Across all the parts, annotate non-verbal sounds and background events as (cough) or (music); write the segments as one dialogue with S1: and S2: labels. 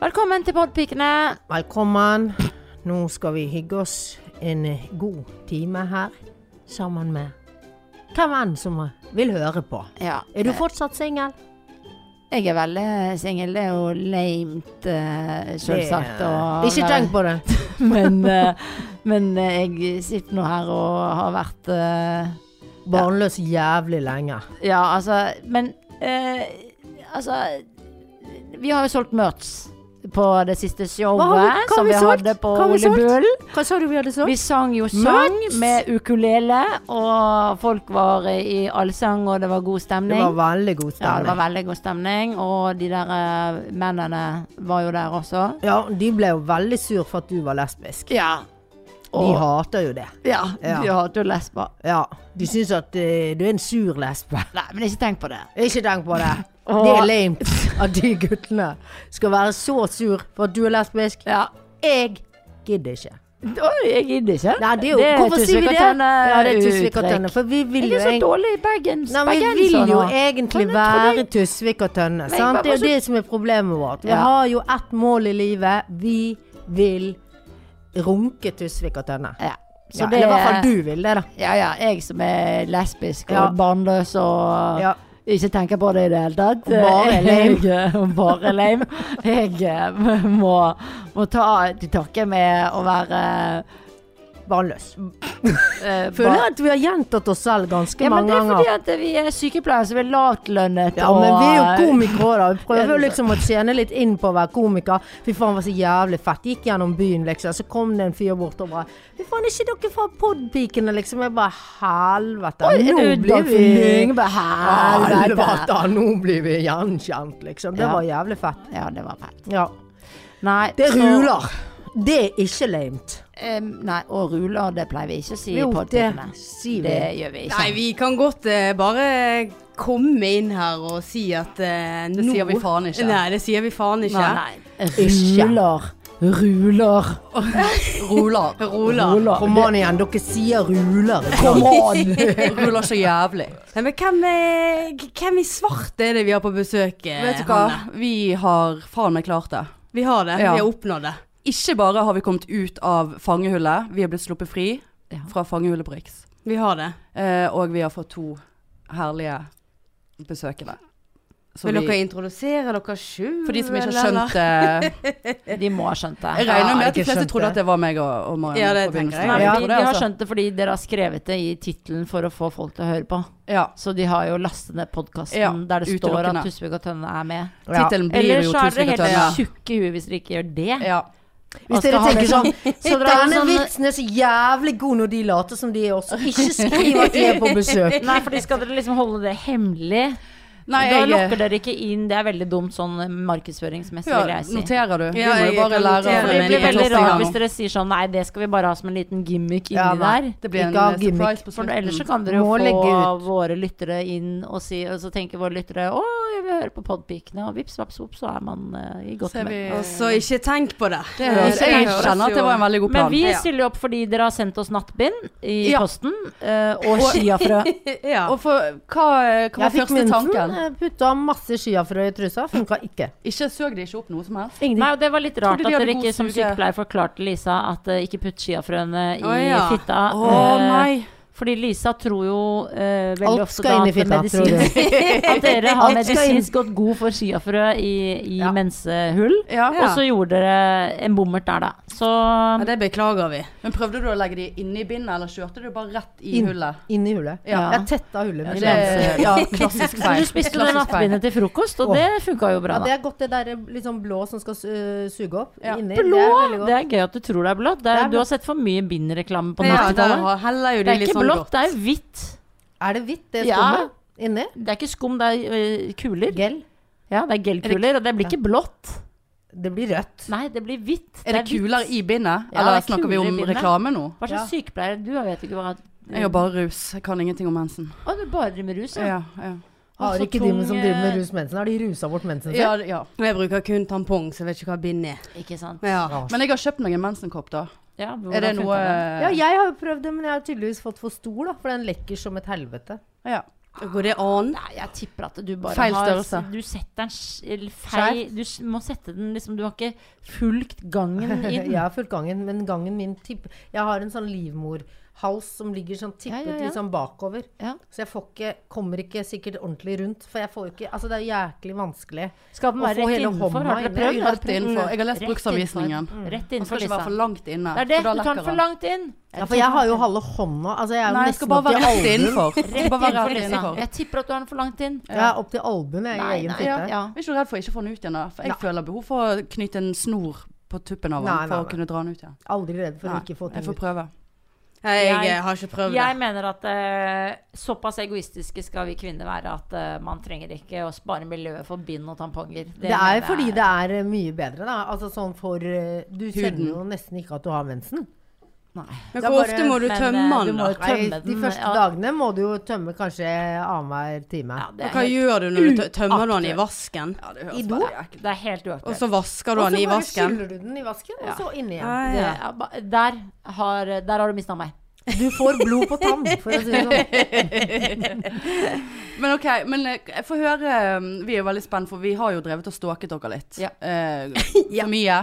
S1: Velkommen til Podpikene.
S2: Velkommen. Nå skal vi hygge oss en eh, god time her sammen med hvem enn som eh, vil høre på.
S1: Ja,
S2: Er du fortsatt singel?
S1: jeg er veldig singel. Det er jo lamet, eh, selvsagt. å
S2: Ikke
S1: være-
S2: tenk på det.
S1: (laughs) Men, eh, men eh, jeg sitter nå her og har vært eh,
S2: Barnløs jævlig lenge.
S1: Ja, altså Men eh, altså Vi har jo solgt merch på det siste showet
S2: Hva har vi- hva har
S1: som
S2: vi
S1: vi,
S2: solgt?
S1: hadde på
S2: Hva har vi
S1: Ole
S2: solgt?
S1: Bull.
S2: Hva sa du vi hadde
S1: Vi
S2: sagt?
S1: sang jo sang
S2: Merch!
S1: med ukulele, og folk var i allsang, og det var god
S2: Det
S1: stemning.
S2: var veldig god
S1: ja, det var
S2: stemning.
S1: veldig god stemning, og de der eh, mennene var jo der også.
S2: Ja, de ble jo veldig sur for at du var lesbisk.
S1: Ja.
S2: De
S1: Og,
S2: hater jo det.
S1: ja,
S2: Ja.
S1: de hater jo lesber.
S2: Ja, De syns at eh, du er en sur lesbe.
S1: Nei, men ikke tenk på det.
S2: Ikke tenk på det.
S1: Åh.
S2: Det er lame at de guttene skal være så sur for at du er lesbisk.
S1: Ja.
S2: Jeg gidder ikke.
S1: Oi, jeg gidder ikke.
S2: Nei, det er jo,
S1: Det er
S2: hvorfor sier vi det?
S1: tusvikattene
S2: Ja, det er
S1: eh, uttrykk.
S2: Tusvik og Tønne. For vi vil
S1: Jeg
S2: jo
S1: er så
S2: eng-
S1: dårlig i Bergens.
S2: Nei, vi
S1: bergenser
S2: vil jo
S1: nå.
S2: egentlig
S1: Men jeg trodde
S2: være Tusvik og Tønne.
S1: jeg
S2: Sant?
S1: bare
S2: Det er jo
S1: så-
S2: det som er problemet vårt. Vi
S1: Ja.
S2: har jo ett mål i livet. Vi vil runke Tusvik og Tønne.
S1: Ja. Så
S2: Ja,
S1: det
S2: eller i hvert fall du vil det, da.
S1: Ja, ja. Jeg som er lesbisk og
S2: Ja.
S1: barnløs og
S2: Ja.
S1: ikke tenker på det i det hele tatt. (laughs)
S2: Og bare lame.
S1: Jeg, og bare lame. Jeg eh, må, må ta til takke med å være
S2: Barnløs.
S1: eh,
S2: Føler
S1: bar-
S2: at vi har gjentatt oss selv ganske
S1: ja, men
S2: mange
S1: det er
S2: ganger.
S1: fordi at vi er sykepleiere, så vi er lavtlønnet.
S2: Ja, men vi er jo
S1: og-
S2: komikere òg, da. Vi prøver
S1: Ja,
S2: jo
S1: det er
S2: liksom å tjene litt inn på å være komiker. Fy faen, var så jævlig fett. Gikk gjennom byen, liksom. Så kom det en fyr bort og bare Fy faen, er ikke dere fra Podpikene, liksom? Jeg bare Helvete.
S1: Oi,
S2: nå
S1: du,
S2: blir
S1: Dag
S2: vi
S1: Fylling, bare, Helvete.
S2: Helvete, nå blir vi gjenkjent, liksom. Det
S1: Ja.
S2: var jævlig fett.
S1: Ja, det var fett.
S2: Ja.
S1: Nei,
S2: Det
S1: så-
S2: ruler. Det er ikke lamet.
S1: Em, nei, og ruler, det pleier vi ikke å si i
S2: Jo, det
S1: podkastene.
S2: sier vi.
S1: Det gjør vi ikke.
S3: Nei, vi kan godt eh, bare komme inn her og si at eh, nå
S4: sier vi faen ikke.
S3: Nei, det sier vi faen ikke.
S1: Nei, nei.
S2: Ikke.
S1: Ruler. Ruler.
S3: Ah,
S4: Ruler.
S3: Rola.
S2: Romanien, dere sier ruler.
S4: Kom an! Ruler så jævlig.
S3: Nei, men hvem, er, k- hvem i svart er det vi har på besøk? eh,
S4: Vet du hva?
S3: Hanne?
S4: Vi har faen meg klart det.
S3: Vi har det.
S4: Ja.
S3: Vi har oppnådd det.
S4: Ikke bare har vi kommet ut av fangehullet, vi er blitt sluppet fri fra fangehullet på Riks.
S3: Vi har det.
S4: Eh, og vi har fått to herlige besøkende. Så
S3: Vil
S4: vi-
S3: dere introdusere dere sjøl?
S4: for de som ikke har skjønt det
S1: De må ha skjønt det.
S4: Jeg regner
S2: Ja,
S4: med at de
S2: ikke
S4: fleste
S2: skjønt
S4: trodde
S2: det.
S4: at det var meg og, og Marianne.
S3: Ja, det
S4: på
S3: tenker
S4: begynnelsen.
S3: jeg.
S1: Nei,
S4: Jeg
S1: men
S4: tror
S1: de,
S4: det,
S1: de har
S4: altså.
S1: skjønt det fordi dere har skrevet det i tittelen for å få folk til å høre på.
S4: Ja.
S1: Så de har jo lastet ned podkasten
S4: Ja,
S1: der det står
S4: utelukkende.
S1: at Tusvik og Tønne er med.
S2: Ja.
S4: Tittelen blir
S1: Eller
S4: jo
S1: så er dere
S4: 'Tusvik og
S1: helt
S4: tønne'.
S1: tjukke i huet hvis dere ikke gjør det.
S4: Ja.
S1: Og
S2: Hvis
S1: skal
S2: dere
S1: ha liksom-
S2: tenker
S1: det
S2: sånn
S1: Så dere har
S2: Denne
S1: sånn-
S2: vitsen er så jævlig god når de later som de er også. Ikke skriv at de er på
S4: (laughs)
S2: besøk.
S1: (laughs) Nei, for skal dere liksom holde det hemmelig.
S4: Nei,
S1: da
S4: jeg-
S1: lokker dere ikke inn. Det er veldig dumt sånn markedsføringsmessig,
S4: Ja,
S1: vil jeg si.
S4: noterer du?
S3: Ja,
S4: vi må
S3: jeg
S4: jo bare
S3: kan
S4: lære
S3: notere
S4: av
S1: For det
S3: men
S1: blir
S3: ikke
S1: veldig
S3: første
S1: rart
S3: gang.
S1: hvis dere sier sånn Nei, det skal vi bare ha som en liten gimmick inni
S2: Ja, nei.
S1: der.
S4: Det blir en
S2: Ikke av
S4: eh,
S2: gimmick.
S4: surprise på
S1: For
S4: slutten.
S1: ellers så kan dere jo
S2: Må legge
S1: få
S2: ut.
S1: våre lyttere inn og, si, og så tenker våre lyttere å, jeg vil høre på podpikene, og vips, vaps, vops, så er man eh, i godt
S4: Ser vi-
S1: humør.
S3: Og så ikke tenk på det.
S4: Det
S1: Det
S4: høres, jeg
S1: høres
S4: kjenner at det var en veldig god
S1: Men
S4: plan.
S1: vi stiller jo opp fordi dere har sendt oss nattbind i
S4: Ja.
S1: posten, eh, og skiafrø.
S3: Ja.
S4: (laughs) Og for, hva, eh, hva var
S2: Jeg fikk
S4: første
S2: mynten.
S4: tanken?
S2: jeg Putta masse skiafrø i trusa. Funka ikke.
S4: Ikke søg de ikke opp noe som helst?
S1: Nei, og det var litt rart
S4: Trodde
S1: at
S4: de hadde
S1: dere ikke
S4: god
S1: som
S4: suge.
S1: sykepleier forklarte Lisa at eh, ikke putt skiafrøene i
S3: Å, ja.
S1: fitta.
S4: Å
S1: eh,
S4: nei.
S1: Fordi Lisa tror jo eh, veldig
S2: Alt
S1: ofte da
S2: skal inn i
S1: at
S2: fitta, tror
S1: medisin- (laughs) At dere har
S2: Alt skal inn.
S1: medisinsk gått god for skiafrø i, i
S2: Ja.
S1: mensehull.
S4: Ja.
S3: Ja.
S1: Og så gjorde dere en bommert der, da. Så
S3: Ja, det beklager vi.
S4: Men prøvde du å legge de inni bindet, eller kjørte du bare rett i
S2: Inn.
S4: hullet?
S2: Inni hullet.
S1: Ja.
S2: Jeg tetta hullet
S4: Ja,
S2: mitt.
S4: det,
S1: det-
S4: (laughs) ja,
S1: (laughs)
S4: klassisk
S1: Så
S4: feil.
S1: du spiste det
S4: Klassisk feil.
S1: nattbindet til frokost, og det funka jo bra,
S2: Ja, det
S1: da.
S2: er godt det der eh, litt sånn blå som skal su- suge opp.
S4: Ja.
S2: Inni.
S1: Blå!
S2: Det er veldig
S1: Det
S2: godt.
S1: er gøy at du tror det er blått. Det
S2: Det
S1: er,
S2: er
S1: du har sett for mye bindreklame på
S3: Ja, der
S1: 90-tallet.
S3: har- heller jo
S1: det
S3: de
S1: er
S3: litt
S1: ikke
S3: sånn
S1: blått,
S3: godt.
S1: det er hvitt.
S2: Er det hvitt, det
S1: Ja.
S2: skummet? Inni?
S1: Det er ikke skum, det er øh, kuler.
S2: Gel?
S1: Ja, det er gelkuler, og det blir ikke blått.
S2: Det blir rødt.
S1: Nei, det blir hvitt.
S4: Er det
S1: hvitt.
S4: kuler i bindet,
S1: Ja,
S4: eller
S1: det er
S4: snakker vi
S1: kuler i
S4: om
S1: bindet.
S4: reklame nå?
S1: Hva slags sykepleier du er, vet ikke hva
S4: Jeg har bare rus, jeg kan ingenting om mensen.
S1: Å, du bare driver med rus, ja.
S4: Ja, ja.
S2: Har
S1: så
S2: ikke de
S1: tung,
S2: som driver
S1: eh,
S2: med rus mensen, har de rusa bort mensen sin?
S4: ja, det- ja.
S3: Og jeg bruker kun tampong, så jeg vet ikke hva bind er.
S1: Ikke sant.
S3: Ja.
S2: Ja.
S4: Men jeg har kjøpt meg en mensenkopp, da.
S1: Ja, hvordan
S4: Er det
S1: funker
S4: noe eh,
S2: Ja, jeg har jo prøvd det, men jeg har tydeligvis fått for stor, da. For den lekker som et helvete.
S4: Ja.
S3: Går det an?
S1: Nei, jeg tipper at du bare
S4: Feil
S1: har
S4: størrelse.
S1: Du setter den sj- eller feil Du s- må sette den liksom Du har ikke fulgt gangen
S2: (laughs)
S1: i den.
S2: Eh, Jeg har fulgt gangen, men gangen min tipper Jeg har en sånn livmorhals som ligger sånn tippet
S1: Ja, ja, ja.
S2: litt sånn bakover.
S1: Ja.
S2: Så jeg får ikke, kommer ikke sikkert ordentlig rundt. For jeg får ikke Altså, det er jæklig vanskelig.
S1: Skal den
S2: Å
S1: være
S2: få
S1: rett
S2: hele
S1: innenfor?
S2: hånda
S1: Har dere
S2: inne.
S1: prøvd? Mm. Har
S4: Rett
S1: dere prøvd?
S4: innenfor. Jeg har lest
S1: Rett
S4: bruksanvisningen.
S1: innenfor. Rett
S4: Den skal
S1: innenfor,
S4: ikke være for
S1: Lisa.
S4: langt inne.
S1: Det er det.
S4: for da
S1: Du tar den
S4: lekker
S1: for
S4: den.
S1: langt inn.
S2: Ja, for jeg har jo halve hånda. Altså, jeg er jo
S4: Nei, den
S2: nesten
S4: skal bare
S2: opp
S4: være
S2: til
S4: rett
S2: albuen. (laughs)
S4: innenfor. Den
S1: Rett
S4: skal bare være
S1: innenfor,
S4: rett
S1: Lisa.
S4: innenfor.
S1: Jeg tipper at du har den for langt inn.
S2: Ja, opp til albuen jeg, i egen
S1: ja.
S2: fitte.
S1: ja.
S4: Jeg er ikke du redd for å ikke få den ut igjen, da? For jeg føler behov for å knytte en snor på tuppen av den
S2: Nei, nei,
S4: for å
S2: nei.
S4: kunne dra den ut igjen.
S2: Aldri redd for å
S4: Nei,
S2: ikke få
S4: jeg
S2: ting
S4: får
S2: ut.
S4: prøve.
S3: Nei, jeg,
S1: Jeg-
S3: eh, har ikke prøvd det.
S1: Jeg mener at eh, såpass egoistiske skal vi kvinner være at eh, man trenger ikke å spare miljøet for bind og tamponger.
S2: Det er jo fordi det er eh, mye bedre, da. Altså sånn for eh, Du
S4: Huden.
S2: kjenner jo nesten ikke at du har mensen.
S3: Men
S1: Det er
S3: hvor
S1: bare-
S3: ofte må du
S1: men,
S3: tømme
S1: eh, du må
S3: den, da?
S1: jo
S2: Nei,
S1: Tømme
S2: de
S1: den,
S2: første
S1: ja.
S2: dagene må du jo tømme kanskje annenhver time.
S1: ja, det, er
S3: Og hva
S1: helt,
S3: gjør du når du tø- tømmer du den i vasken?
S4: Ja, det
S2: I
S4: høres
S2: do?
S4: veldig ekkelt
S1: det er helt
S3: Og
S1: uaktuelt.
S3: så vasker du
S2: Og
S3: den
S2: så
S3: i
S2: bare
S3: vasken?
S2: skyller du den i vasken,
S1: Ja.
S2: og så inni igjen.
S3: Ah,
S1: Det
S3: ja.
S1: er ba- Der har, der har du mista meg.
S2: Du får blod på tann, for å si det
S3: (laughs)
S2: sånn.
S4: Men ok, men eh, jeg får høre um, Vi er jo veldig spent, for vi har jo drevet og stalket dere litt.
S1: Ja.
S4: Eh, For mye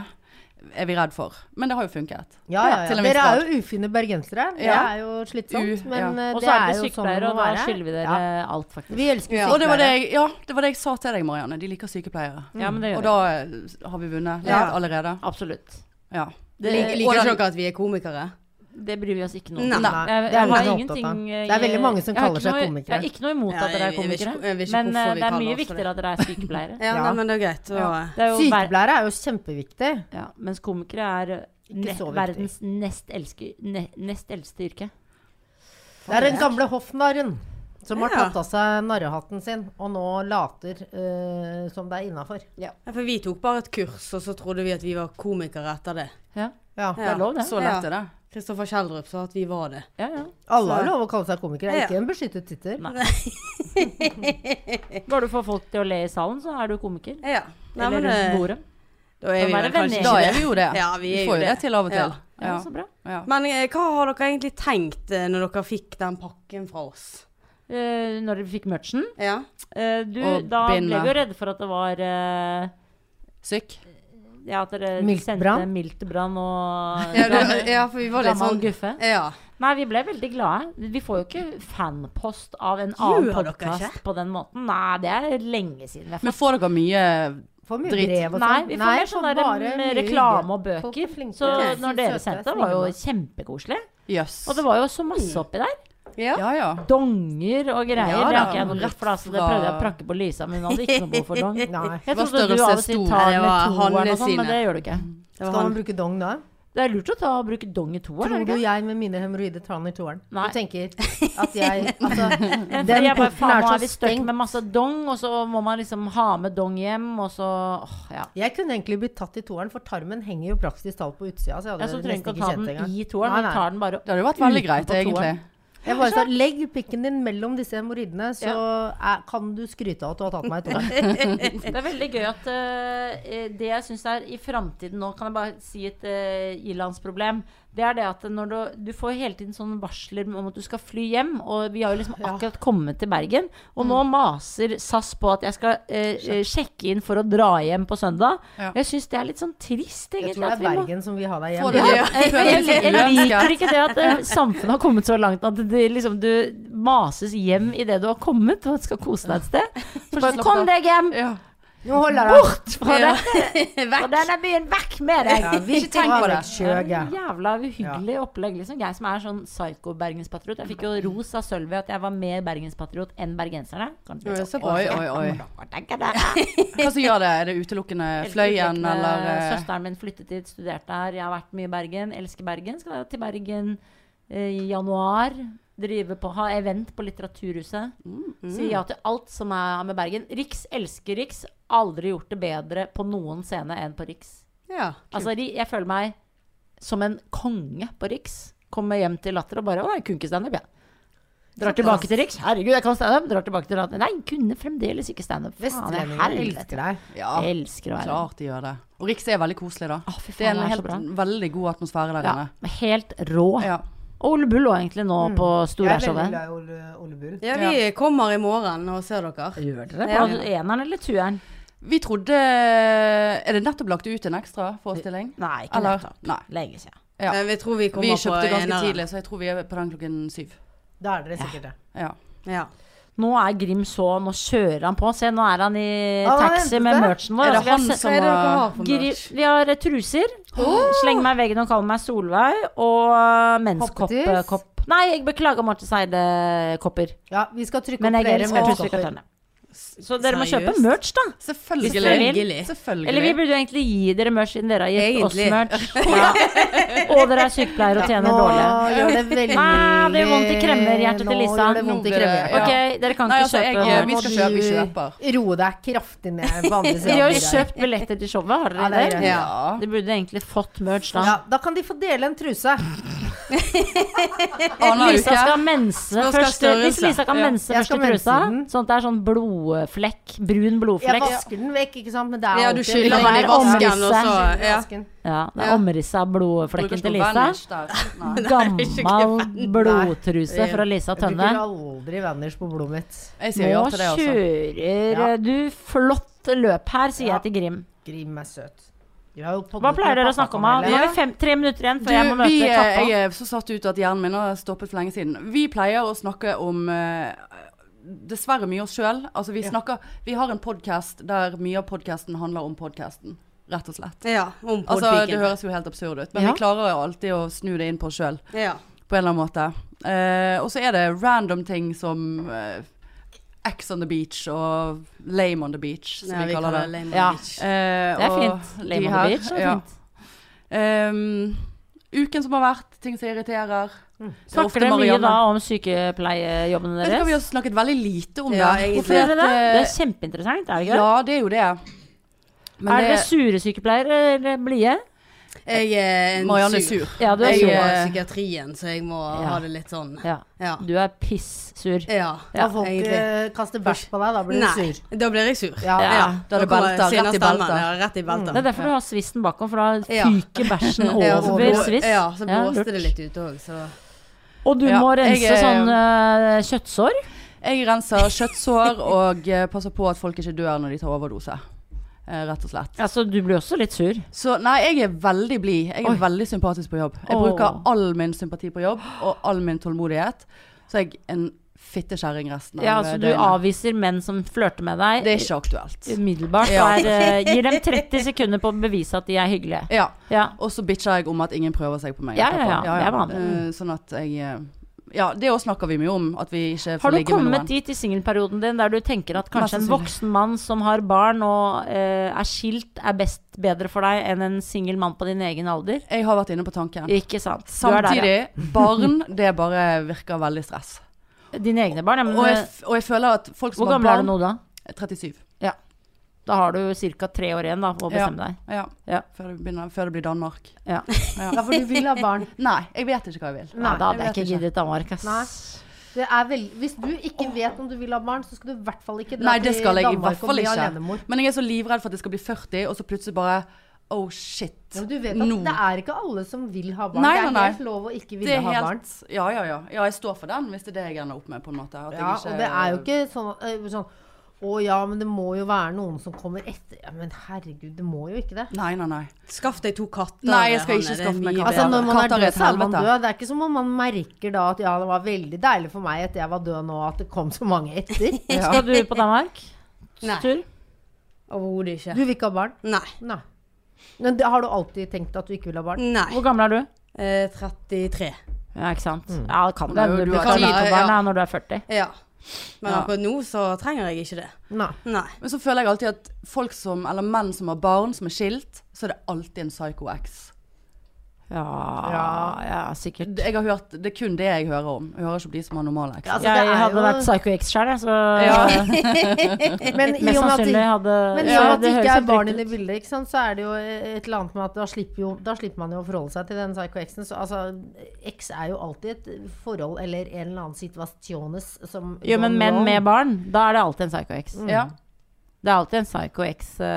S4: er vi redd for. Men det har jo funket.
S2: Ja, ja,
S4: Til
S2: ja.
S4: en viss
S2: Dere
S4: grad.
S2: er jo ufine bergensere. Det
S4: Ja.
S2: er jo
S4: U-
S2: slitsomt, men
S4: ja.
S2: eh,
S1: Og
S2: det
S1: så er
S2: er
S1: det
S2: jo sånn
S1: sykepleiere,
S2: det
S1: og
S2: må
S1: da
S2: være.
S1: skylder vi dere
S2: Ja.
S1: alt, faktisk.
S2: Vi elsker
S3: Ja.
S2: sykepleiere.
S4: Og det var det, jeg, ja, det var det jeg sa til deg, Marianne. De liker sykepleiere.
S1: Ja, men det
S4: Og
S1: gjør
S4: da
S1: vi.
S4: eh, har vi vunnet litt
S3: Ja.
S4: allerede.
S1: Mm. Absolutt.
S4: Ja.
S1: Det,
S3: Lik-
S4: og
S3: Liker
S4: den-
S3: ikke dere at vi er komikere?
S1: det bryr vi oss ikke noe om.
S3: Nei.
S2: Nei,
S1: Jeg,
S2: det er
S1: jeg har
S2: vi ikke opptatt av.
S1: ingenting eh,
S2: Det er veldig mange som
S1: jeg har
S2: kaller
S1: ikke
S2: seg
S1: noe- Jeg
S2: komikere.
S1: har ikke noe imot
S3: Ja,
S1: at dere er
S3: jeg- jeg vet
S1: komikere,
S3: ikke- jeg vet ikke
S1: men eh,
S3: hvorfor vi
S1: det er
S3: kaller
S1: mye
S3: oss for
S1: viktigere at dere er sykepleiere.
S3: Ja,
S2: Ja.
S3: nei, men det er greit. Og,
S1: Det er jo ver-
S2: Sykepleiere er jo kjempeviktig.
S1: Ja, mens komikere er ne
S2: så viktig.
S1: verdens nest, elske, ne nest eldste yrke.
S2: Det er den gamle hoffnarren som har
S3: Ja.
S2: tatt av seg narrehatten sin, og nå later eh, som det er innafor.
S3: Ja, eh, for vi tok bare et kurs, og så trodde vi at vi var komikere etter det.
S1: Ja,
S2: Ja.
S1: det er lov, det.
S4: Så lett er det.
S3: Kristoffer Kjeldrup sa at vi var det.
S1: Ja, ja.
S2: Alle
S3: Så-
S2: har lov å kalle seg komikere. Det
S3: Ja.
S2: er ikke en beskyttet tittel.
S1: Nei. Går du for folk til å le i salen, så er du komiker.
S3: Ja. Nei,
S1: Eller
S3: men
S1: rundt
S3: det,
S1: bordet.
S3: da er
S1: Da
S3: vi
S1: er
S3: vel
S1: det
S3: kanskje
S1: venner.
S4: Da
S3: ikke
S4: er vi jo det.
S3: Ja, vi er
S4: får
S3: jo
S4: jo det til av og
S3: Ja.
S4: til.
S1: Ja, så bra.
S4: Ja.
S3: Men eh, hva har dere egentlig tenkt eh, når dere fikk den pakken fra oss?
S1: Eh, når vi fikk merchen
S3: Ja.
S1: eh, Du,
S4: Og
S1: da ble
S4: bindet.
S1: vi jo redde for at det var eh,
S4: Syk.
S1: Ja, at dere
S2: Miltbrann?
S1: sendte miltbrann og
S3: Ja, det- ja, for vi var litt
S1: gammel
S3: sånn
S1: guffe.
S3: Ja.
S1: Nei, vi ble veldig glade. Vi får jo ikke fanpost av en annen
S3: Gjør dere ikke?
S1: podkast på den måten. Nei, det er lenge siden. Jeg
S4: Men får dere mye
S2: Får mye
S4: Dritt.
S2: brev og sånn.
S1: Nei, vi får mer sånn
S2: får
S1: der,
S2: bare
S1: mm,
S2: mye
S1: reklame og
S2: hygge. Folk er
S1: bøker.
S2: flinke.
S1: Så
S2: Ok.
S1: når dere
S2: Søte,
S1: sendte, var jo
S2: snille.
S1: kjempekoselig.
S4: Jøss.
S1: Og det var jo så masse oppi der.
S3: Ja.
S4: Ja ja.
S1: Donger og greier.
S4: Ja,
S1: det har
S4: da,
S1: ikke jeg noe
S4: rett
S1: bruk for, da, så det
S4: fra-
S1: prøvde jeg å prakke på Lisa, men hun hadde ikke noe behov for dong.
S2: Nei.
S1: Jeg
S4: Hva
S1: trodde du
S4: størrelse
S1: av og til
S4: stor?
S1: tar
S3: Nei, det
S1: med
S3: var
S1: toeren
S3: Hanne
S1: og sånn,
S3: sine.
S1: men det gjør du ikke.
S3: Det
S2: Skal
S3: var
S2: man
S3: han.
S2: bruke dong da?
S1: Det er lurt å ta og bruke dong i toeren,
S2: Tror
S1: er
S2: du
S1: det ikke?
S2: jeg med mine hemoroider tar den i toeren? Du
S1: Nei. (laughs)
S2: tenker at jeg altså,
S1: Fordi
S2: Den
S1: jeg bare,
S2: porten
S1: faen,
S2: er
S1: nå
S2: så
S1: er vi støkk
S2: stengt.
S1: med masse dong, og så må man liksom ha med dong hjem, og så åh, ja.
S2: Jeg kunne egentlig blitt tatt i toeren, for tarmen henger jo praktisk talt på utsida. Så jeg hadde
S1: Jeg så trenger
S2: nesten
S1: ikke å
S2: ikke
S1: ta
S2: kjent det
S1: den
S2: engang.
S1: i toeren,
S2: Nei,
S1: men
S2: nei.
S1: tar den bare
S4: Det hadde jo vært veldig
S1: Utenpå
S4: greit,
S1: toeren.
S4: egentlig.
S2: Jeg bare sa legg pikken din mellom disse hemoroidene, så er, kan du skryte av at du har tatt meg
S1: (laughs)
S2: i toeren.
S1: Det er veldig gøy at eh, det jeg syns er i framtiden nå, kan jeg bare si et uh, ilandsproblem. Det er det at når du, du får hele tiden sånne varsler om at du skal fly hjem, og vi har (laughs) jo liksom akkurat kommet til Bergen, og nå maser SAS på at jeg skal eh, eh, sjekke inn for å dra hjem på søndag.
S4: Ja.
S1: Jeg syns det er litt sånn trist, egentlig.
S2: Jeg tror det
S1: at
S2: er
S1: vi må-
S2: Bergen som vil ha deg hjem.
S4: Får dere-
S1: jeg,
S4: Føler
S1: jeg,
S4: dere
S1: jeg,
S4: seg uønsket?
S1: liker ikke det at eh, samfunnet har kommet så langt at det, liksom, du mases hjem idet du har kommet og skal kose deg et sted. Så bare, Kom deg hjem!
S4: Ja.
S2: Nå holder det.
S1: Bort fra
S4: Ja.
S1: dette! Fra denne byen! Vekk med deg!
S2: Ja, vi
S4: Ikke tenk på det.
S1: Det er
S2: Kjøge.
S1: en Jævla uhyggelig opplegg. Liksom. Jeg som er sånn psyko-bergenspatriot. Jeg fikk jo ros av Sølvi at jeg var mer bergenspatriot enn bergenserne. Kan du-
S3: Ja, såpass.
S4: Oi, oi, oi.
S1: Hva tenker dere?
S4: Hva som gjør det? Er det utelukkende fløyen, eller eh,
S1: Søsteren min flyttet dit, studerte her. Jeg har vært mye i Bergen. Elsker Bergen. Skal til Bergen eh, i januar. Drive på, ha event på Litteraturhuset.
S4: Mm,
S1: Si ja til alt som er med Bergen. Riks elsker Riks. Aldri gjort det bedre på noen scene enn på Riks.
S3: Ja.
S1: Altså, de- jeg føler meg som en konge på Riks. Kommer hjem til Latter og bare 'Å, jeg kunne ikke standup, jeg'. Drar tilbake til Riks. 'Herregud, jeg kan standup'. Drar tilbake til Latter. Nei, kunne fremdeles ikke standup. Faen, jeg
S2: Vestlendinger
S1: helvete.
S2: elsker deg.
S4: Ja,
S1: Jeg elsker å være
S4: klart de gjør det. Og Riks er veldig koselig, da.
S1: Å, fy faen,
S4: Det er en
S1: det er så
S4: helt,
S1: bra.
S4: veldig god atmosfære der
S1: ja,
S4: inne.
S1: Helt rå.
S4: Ja.
S1: Og Ole Bull òg, egentlig, nå på
S5: Jeg er veldig
S1: Storærshowet.
S5: glad i Ole, Ole Bull.
S3: Ja, vi kommer i morgen og ser dere.
S1: Gjør dere det?
S3: Ja.
S1: På eneren eller tueren?
S4: Vi trodde eh, Er det nettopp lagt ut en ekstra forestilling?
S1: Nei, ikke
S4: Eller-
S1: nettopp.
S4: Nei.
S1: Lenge siden.
S4: Ja.
S3: Men Eh, vi tror vi
S4: Vi
S3: kommer på
S4: kjøpte ganske
S3: eneren.
S4: tidlig, så jeg tror vi er på den klokken syv.
S5: Da er dere sikkert det.
S4: Ja.
S3: Ja.
S1: Nå er Grim så Nå kjører han på. Se, nå er han i
S5: Ah,
S1: taxi
S5: hentet
S1: med
S5: det?
S1: merchen vår.
S4: Er det
S1: Altså, vi har
S4: han
S1: se-
S4: som
S3: Hva er det dere
S4: har
S3: har for
S1: Gri-
S3: merch?
S1: Vi har eh, truser. Sleng meg i veggen og kall meg Solveig. Og eh, menskopp
S2: Hoppetiss.
S1: eh, kopp. Nei, jeg beklager Marte Seide-kopper.
S5: Ja, vi skal trykke
S1: Men
S5: opp
S1: jeg
S5: flere
S1: elsker
S5: merchstopper.
S1: trusekatørene. Så dere må kjøpe
S3: Seriøst?
S1: merch, da. Hvis dere vil.
S3: Selvfølgelig.
S1: Eller vi
S4: Selvfølgelig.
S1: burde jo egentlig gi dere merch siden dere har gitt
S2: (laughs)
S3: Egentlig.
S1: oss merch. Ja. Og dere er sykepleiere og tjener
S2: Nå
S1: dårlig.
S2: gjør det veldig
S1: Ah, det gjør vondt i kremmerhjertet til Lisa.
S2: Nå gjør det vondt i
S4: Nå blir det-
S2: kremmerhjertet.
S4: Ja.
S1: Ok, dere kan
S4: Nei,
S1: ikke
S4: altså, jeg,
S1: kjøpe
S4: vi
S1: merch.
S4: skal kjøpe, vi kjøper.
S2: Ro deg
S1: (laughs)
S2: kraftig ned på andre siden.
S1: Dere har jo
S2: av bordet.
S1: kjøpt billetter til showet, har
S2: Ja,
S1: dere
S2: det er
S1: det?
S2: greit.
S4: Ja.
S1: De burde egentlig fått merch da.
S2: Ja, da kan de få dele en truse.
S4: Annen
S1: Lisa skal
S4: uke.
S1: ha mense
S3: Nå skal
S1: først. Hvis
S3: størrelse.
S1: Lisa kan
S3: Ja.
S1: mense
S2: Jeg skal
S1: først i trusa,
S2: mense den.
S1: sånn at det er sånn blodflekk, brun
S2: Jeg
S1: blodflekk
S2: vasker den vekk, ikke sant, men det er
S3: Ja, du
S2: alltid-
S3: skyller
S1: Det kan
S3: den i
S1: være
S3: vasken, og
S1: omrisset.
S3: så ja.
S1: Ja, det er
S3: Ja.
S1: omrisset av blodflekken til Lisa.
S4: (laughs) Lisa.
S1: Gammel blodtruse
S3: Nei.
S1: fra Lisa
S2: Jeg bruker
S1: Tønne.
S2: aldri Vanners på blodet mitt.
S4: Jeg sier ja
S1: Nå
S4: til det, altså.
S1: kjører du flott løp her, sier
S2: Ja.
S1: jeg til Grim.
S2: Grim er søt. Vi har jo
S1: Hva
S2: poddet med
S1: pleier dere å
S2: pappa
S1: snakke om? da? Nå
S2: panelet.
S1: har vi fem, tre minutter igjen
S4: Du,
S1: før jeg må
S4: vi,
S1: møte
S4: eh, jeg
S1: Kappa.
S4: er så satt ut at hjernen min har stoppet for lenge siden. Vi pleier å snakke om eh, dessverre mye oss sjøl. Altså, vi, snakker- vi har en podkast der mye av podkasten handler om podkasten, rett og slett.
S3: ja. Om
S4: Altså, det
S3: podpiken.
S4: høres jo helt absurd ut, men
S1: Ja.
S4: vi klarer jo alltid å snu det inn på oss sjøl.
S3: Ja.
S4: på en eller annen måte. Eh, og så er det random ting som eh, X on the beach og Lame on the beach, som
S3: Ja,
S4: vi kaller det.
S3: Lame
S1: Ja.
S3: Beach.
S4: Eh,
S1: Det er
S4: og
S1: fint.
S4: de
S1: Lame on
S4: her,
S1: the beach er
S4: ja.
S1: fint.
S4: Ehm, uken som har vært, ting som irriterer. Det er ofte
S1: Mm. Snakker dere mye
S4: Marianne.
S1: da om sykepleiejobben
S4: Vet du hva, vi har
S1: deres?
S4: snakket veldig lite om
S3: Ja,
S4: det.
S3: egentlig.
S1: Hvorfor gjør dere det?
S4: at,
S1: Det
S4: eh,
S1: er kjempeinteressant, er det ikke?
S4: ja, det er jo det. Men
S1: Er
S4: det,
S1: dere sure sykepleiere eller blide?
S3: Jeg er en
S4: Marianne er
S3: sur.
S4: sur.
S1: Ja, du er
S3: Jeg eh,
S1: sur.
S3: er i psykiatrien, så jeg må ha det litt sånn.
S1: Ja.
S3: Ja.
S1: Du er pissur.
S3: Ja,
S2: Da folk
S3: egentlig.
S2: eh, kaster bæsj på deg, da blir du
S3: Nei,
S2: sur.
S3: da blir jeg sur.
S2: Ja.
S1: Ja.
S4: Da er det
S3: kommer
S4: belter, rett i Mm.
S3: sinnastemmen.
S4: belter.
S3: Ja, rett i belter.
S1: Det er derfor du har svisten bakom, for da
S3: Ja.
S1: fyker bæsjen
S3: Ja, så
S1: over
S3: blå-
S1: sviss.
S3: Ja, så
S1: Ja,
S3: blåste
S1: lurt.
S3: det litt ute òg, så
S1: Og du
S4: Ja,
S1: må rense
S4: jeg er-
S1: sånn eh, kjøttsår.
S4: Jeg renser kjøttsår og eh, passer på at folk ikke dør når de tar overdose. Eh, rett og slett.
S1: Altså, du blir også litt sur.
S4: Så nei, jeg er veldig blid. Jeg er veldig sympatisk på jobb. Jeg
S1: Åh.
S4: bruker all min sympati på jobb, og all min tålmodighet. Så er jeg en fittekjerring resten av
S1: Ja, altså, du
S4: døgnet.
S1: avviser menn som flørter med deg.
S4: Det er ikke aktuelt.
S1: Umiddelbart.
S4: Ja.
S1: Er, eh, gir
S4: (laughs)
S1: dem 30 sekunder på å bevise at de er hyggelige.
S4: Ja.
S1: Ja.
S4: Og så bitcher jeg om at ingen prøver seg på meg.
S1: Ja, ja, ja. Det er vanlig.
S4: Eh, Sånn at jeg eh, Ja, det òg snakker vi mye om. At vi ikke
S1: Har
S4: får
S1: du
S4: ligge med
S1: kommet
S4: noen.
S1: dit i singelperioden din der du tenker at
S4: Mest
S1: kanskje en
S4: sannsynlig.
S1: voksen mann som har barn og eh, er skilt, er best bedre for deg enn en singel mann på din egen alder?
S4: Jeg har vært inne på tanken.
S1: Ikke sant. Du er der,
S4: Samtidig, barn, det bare virker veldig stress.
S1: ja. Dine egne barn. Ja, men, eh,
S4: Og jeg, f- og jeg føler at folk som
S1: hvor
S4: har
S1: gammel er du nå,
S4: barn
S1: da?
S4: 37.
S1: Da har du ca. tre år igjen da, å bestemme deg.
S4: Ja.
S1: Ja.
S4: Før, det begynner, før det blir Danmark.
S1: Ja.
S2: Ja, for du vil ha barn.
S4: Nei, jeg vet ikke hva jeg
S2: (laughs)
S4: vil.
S1: Nei, da hadde jeg ikke
S4: jeg vet ikke.
S1: giddet Danmark, ass.
S2: Nei. Det er vel... Hvis du ikke vet om du vil ha barn, så skal du i hvert fall ikke dra
S4: Nei, det skal jeg i hvert
S2: Danmark og
S4: fall
S2: bli
S4: ikke.
S2: alenemor.
S4: Men jeg er så livredd for at jeg skal bli 40, og så plutselig bare Oh shit.
S2: Ja, men du vet at
S4: Nå.
S2: det er ikke alle som vil ha barn.
S4: Nei,
S2: det er
S4: nei, nei.
S2: helt lov å ikke
S4: Det
S2: ville
S4: er
S2: ha barn.
S4: helt Ja, ja, ja. Ja, jeg står for den, hvis det er det jeg ender opp med, på en måte. At jeg
S2: Ja,
S4: ikke-
S2: og det er jo ikke sånn, eh, sånn Å ja, men det må jo være noen som kommer etter. Ja, men herregud, det må jo ikke det.
S4: Nei, nei, nei.
S3: Skaff deg to katter.
S4: Nei, jeg skal
S3: Hanne,
S4: ikke
S3: det er
S4: skaffe meg
S3: mye
S4: katter.
S2: Altså
S3: bedre.
S2: Når man er
S4: Katter er
S2: død,
S4: et
S2: så er man
S4: helvete.
S2: død. Det er ikke som om man merker da at ja, det var veldig deilig for meg etter jeg var død nå, at det kom så mange
S4: (laughs)
S2: etter.
S1: Skal du på Danmark?
S3: Nei.
S1: Tur?
S3: Overhodet ikke.
S2: Du vil ikke ha barn?
S3: Nei.
S2: Nei. Men det, har du alltid tenkt at du ikke vil ha barn?
S3: Nei.
S1: Hvor gammel er du?
S3: Eh, 33.
S1: Ja, ikke sant. Ja, det kan
S4: Det
S1: hende
S4: er jo-
S1: du
S4: du
S1: blir
S3: kan
S1: tid på
S3: være-
S1: barn
S3: ja.
S1: da, når du er 40.
S3: Ja. Men
S4: Ja.
S3: akkurat nå så trenger jeg ikke det.
S2: Nei.
S3: Nei.
S4: Men så føler jeg alltid at folk som, eller menn som har barn som er skilt, så er det alltid en psycho-ex.
S1: Ja, ja, sikkert.
S4: Jeg har hørt, Det er kun det jeg hører om. Jeg hører ikke om de som har normal ex.
S2: Ja, altså, det
S1: jeg
S2: er
S1: hadde
S2: jo-
S1: vært psycho-ex sjøl, jeg, så (laughs)
S2: Men
S1: mest
S2: i og med at,
S1: sannsynlig
S2: det-
S1: hadde
S2: men i og med at det
S1: høres
S2: ikke er
S1: helt
S2: barn
S1: riktig
S2: inne i
S1: ut.
S2: bildet, ikke sant, så er det jo et eller annet med at da slipper, jo, da slipper man jo å forholde seg til den psycho-X-en. Så altså, X er jo alltid et forhold eller en eller annen situasjones som
S1: Jo, men
S2: gone
S1: menn
S2: wrong.
S1: med barn, da er det alltid en psycho-ex.
S4: Ja.
S1: Det er alltid en psycho ex. eh,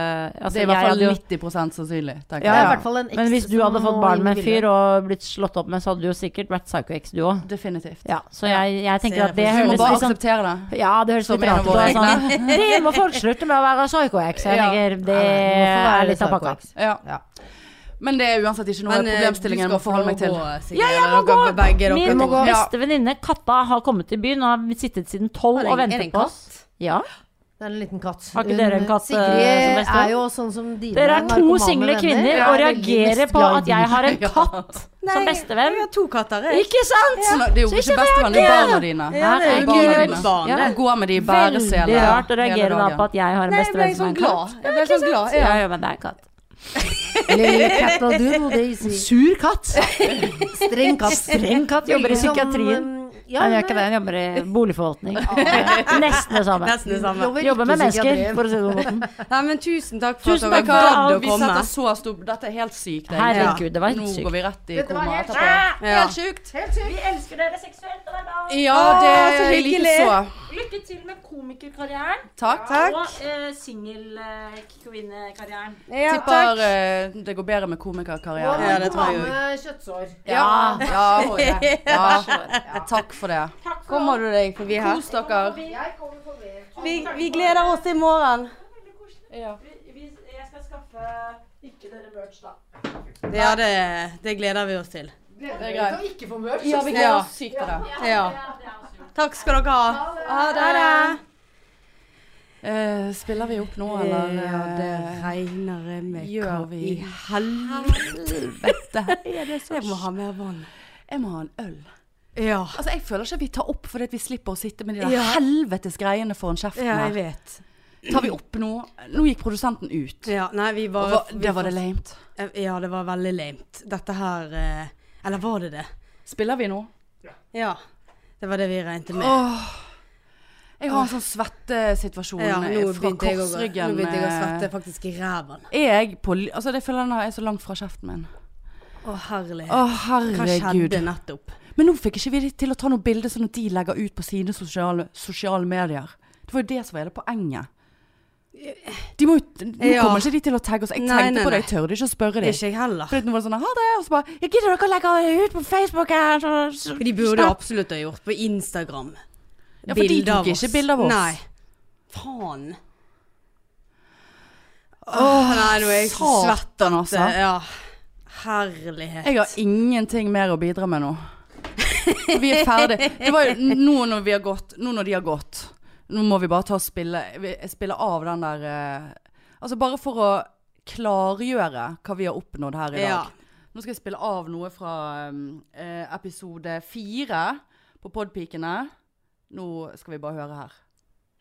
S1: altså,
S4: det er i hvert
S1: jeg
S4: fall
S1: hadde jo-
S4: 90 sannsynlig. tenker
S2: Det
S1: Ja, ja.
S2: er i
S4: jeg.
S2: hvert fall en
S1: Men hvis
S2: eks
S1: du
S2: som
S1: hadde fått
S2: må
S1: barn med en
S2: inn i
S1: fyr
S2: bildet.
S1: og blitt slått opp med, så hadde du jo sikkert vært psycho-ex, du òg.
S4: Definitivt.
S1: Ja, så jeg, jeg tenker
S5: Ser
S1: at det
S5: jeg
S4: Vi må
S1: høres
S4: bare
S1: litt sånn
S4: akseptere det.
S1: Ja, det høres
S4: Som
S1: litt
S4: en
S1: rart ut.
S4: av våre
S1: og Sånn, (laughs) det må folk slutte med å være psycho-ex. Jeg
S4: Ja.
S1: tenker det
S2: Nei, nei, det må få være
S1: er
S2: litt
S1: litt av pakka.
S2: psycho-ex.
S4: Ja.
S2: Ja.
S4: Men det er uansett ikke noe
S3: eh,
S4: problemstillingen jeg
S3: du
S4: må
S3: skal
S4: forholde meg
S3: få
S4: til.
S3: gå, eh, Sigrid,
S1: Ja, jeg må
S3: eller dere Begge dere
S1: Min
S3: to.
S4: gå.
S1: beste venninne Katta har kommet til byen og har sittet siden tolv
S3: Er det-
S1: og
S3: er
S1: ventet
S3: det en
S1: på
S3: katt?
S1: oss. Ja.
S2: Det er en liten katt.
S1: Har ikke dere en katt, eh, som
S2: Sigrid
S1: beste venn?
S2: er jo sånn som dine
S1: Dere er to
S2: narkomane
S1: single
S2: venner.
S1: kvinner
S2: Ja,
S1: og
S2: veldig
S1: reagerer på
S2: mestglad i
S1: at jeg har en
S4: Ja.
S1: katt som bestevenn.
S3: Jeg har to katter, jeg.
S1: Ikke sant?
S4: Så Det er jo ikke bestevenn, det er barna dine.
S3: Ja, det er
S4: Barna
S3: gøy.
S4: dine.
S3: Barn,
S4: Ja,
S3: det.
S4: Gå med de i bæreseler.
S1: Veldig rart å
S4: hele
S1: reagere da
S4: dagen.
S1: på at jeg har en
S3: Nei, jeg ble
S1: bestevenn som er
S3: sånn
S1: en katt.
S3: glad. Jeg ble sånn glad.
S1: Ja,
S3: Ja.
S1: ja, men det er en katt.
S2: din. Lille cat and doodle daisy. Sur katt. Streng katt. Streng katt
S1: Jobber i
S2: Virker som,
S1: psykiatrien.
S2: um,
S1: Ja,
S2: Ja,
S1: jeg gjør ikke det.
S2: nei,
S1: Hun jobber i
S3: (laughs)
S1: boligforvaltning. Nesten det samme.
S3: Nesten det samme.
S2: jobber
S1: Jobber
S2: ikke
S1: med mennesker,
S2: psykiatrien.
S1: for å si det på den måten.
S3: Nei, men tusen takk for
S1: Tusen
S3: at
S1: takk
S3: dere
S1: for
S3: gadd
S1: alt.
S3: å
S4: Vi
S3: komme.
S4: setter så stor Dette er helt sykt. jeg.
S1: Herregud, det var helt
S4: Nå
S1: sykt.
S4: går vi rett i
S2: var
S4: koma
S2: helt
S4: etterpå.
S3: Ja.
S4: Helt sykt.
S1: Vi elsker dere seksuelt og hver dag.
S3: Å,
S4: Ja, det
S3: så
S4: er
S3: hyggelig.
S4: likeså.
S1: Lykke til med komikerkarrieren
S4: Takk.
S1: og eh, singelkvinnekarrieren.
S3: Ja,
S4: Tipper
S3: takk.
S4: eh, det går bedre med
S2: Og
S4: komikerkarrieren.
S3: Ja, det tror jeg
S2: narkomane kjøttsår.
S4: Ja. ja. ja. Takk for det.
S1: Takk for
S3: Kommer du deg forbi her?
S4: Kos dere.
S2: Jeg kommer forbi.
S3: Vi, vi gleder oss til i morgen.
S1: Jeg skal skaffe ikke dere merch, da.
S3: Ja, det, det gleder vi oss til.
S4: Det er greit.
S2: Ikke for mørkt.
S4: Ja, vi gleder oss sykt til det.
S3: Ja. Takk skal dere ha. Ha det.
S4: Eh, spiller vi opp nå, eller?
S3: Ja, det
S4: eh,
S3: regner jeg med.
S4: gjør
S3: Hva I
S4: vi?
S3: helvete. Jeg må ha mer vann.
S4: Jeg må ha en øl.
S3: Ja.
S4: Altså, Jeg føler ikke at vi tar opp fordi at vi slipper å sitte med de der
S3: Ja.
S4: helvetes greiene foran kjeften.
S3: Ja, jeg
S4: her.
S3: vet.
S4: Tar vi opp nå? Nå gikk produsenten ut.
S3: Ja, nei, vi
S4: Og
S3: bare
S4: hva- det var det lamet.
S3: Ja, det var veldig lamet. Dette her eh, Eller var det det?
S4: Spiller vi nå?
S3: Ja. Det var det vi regnet med.
S4: Jeg har en sånn svettesituasjon
S3: ja, nå
S4: eh, fra
S3: begynte jeg å, nå
S4: korsryggen.
S3: begynte jeg å
S4: eh,
S3: svette faktisk i ræven.
S4: Er jeg på li- Altså, det føler jeg nå er så langt fra kjeften min.
S3: Å, herlig.
S4: Å,
S3: Hva skjedde
S4: herregud.
S3: nettopp?
S4: Men nå fikk ikke vi de til å ta noe bilde sånn at de legger ut på sine sosiale, sosiale medier. Det var jo det som var hele poenget. De må jo, nå
S3: Ja.
S4: kommer ikke de til å tagge oss. Jeg
S3: Nei,
S4: tenkte
S3: nei,
S4: på det,
S3: nei.
S4: jeg tørde ikke å spørre dem.
S3: Ikke jeg heller.
S4: For nå var det sånn, ha det, og så bare, jeg gidder dere å legge det ut på Facebook her. Så, så.
S3: For de burde jo absolutt ha gjort på Instagram.
S4: Ja, for de
S3: Bilder
S4: tok ikke bilder av oss.
S3: Nei. Faen. Åh, nei, nå er jeg så
S4: satan,
S3: svett at
S4: altså.
S3: eh, Ja. Herlighet.
S4: Jeg har ingenting mer å bidra med nå. Vi er ferdig. Det var jo nå når vi har gått, nå når de har gått, nå må vi bare ta og spille, vi- spille av den der, eh, altså bare for å klargjøre hva vi har oppnådd her i dag.
S3: Ja.
S4: Nå skal jeg spille av noe fra eh, episode fire på Podpikene. Nå skal vi bare høre her.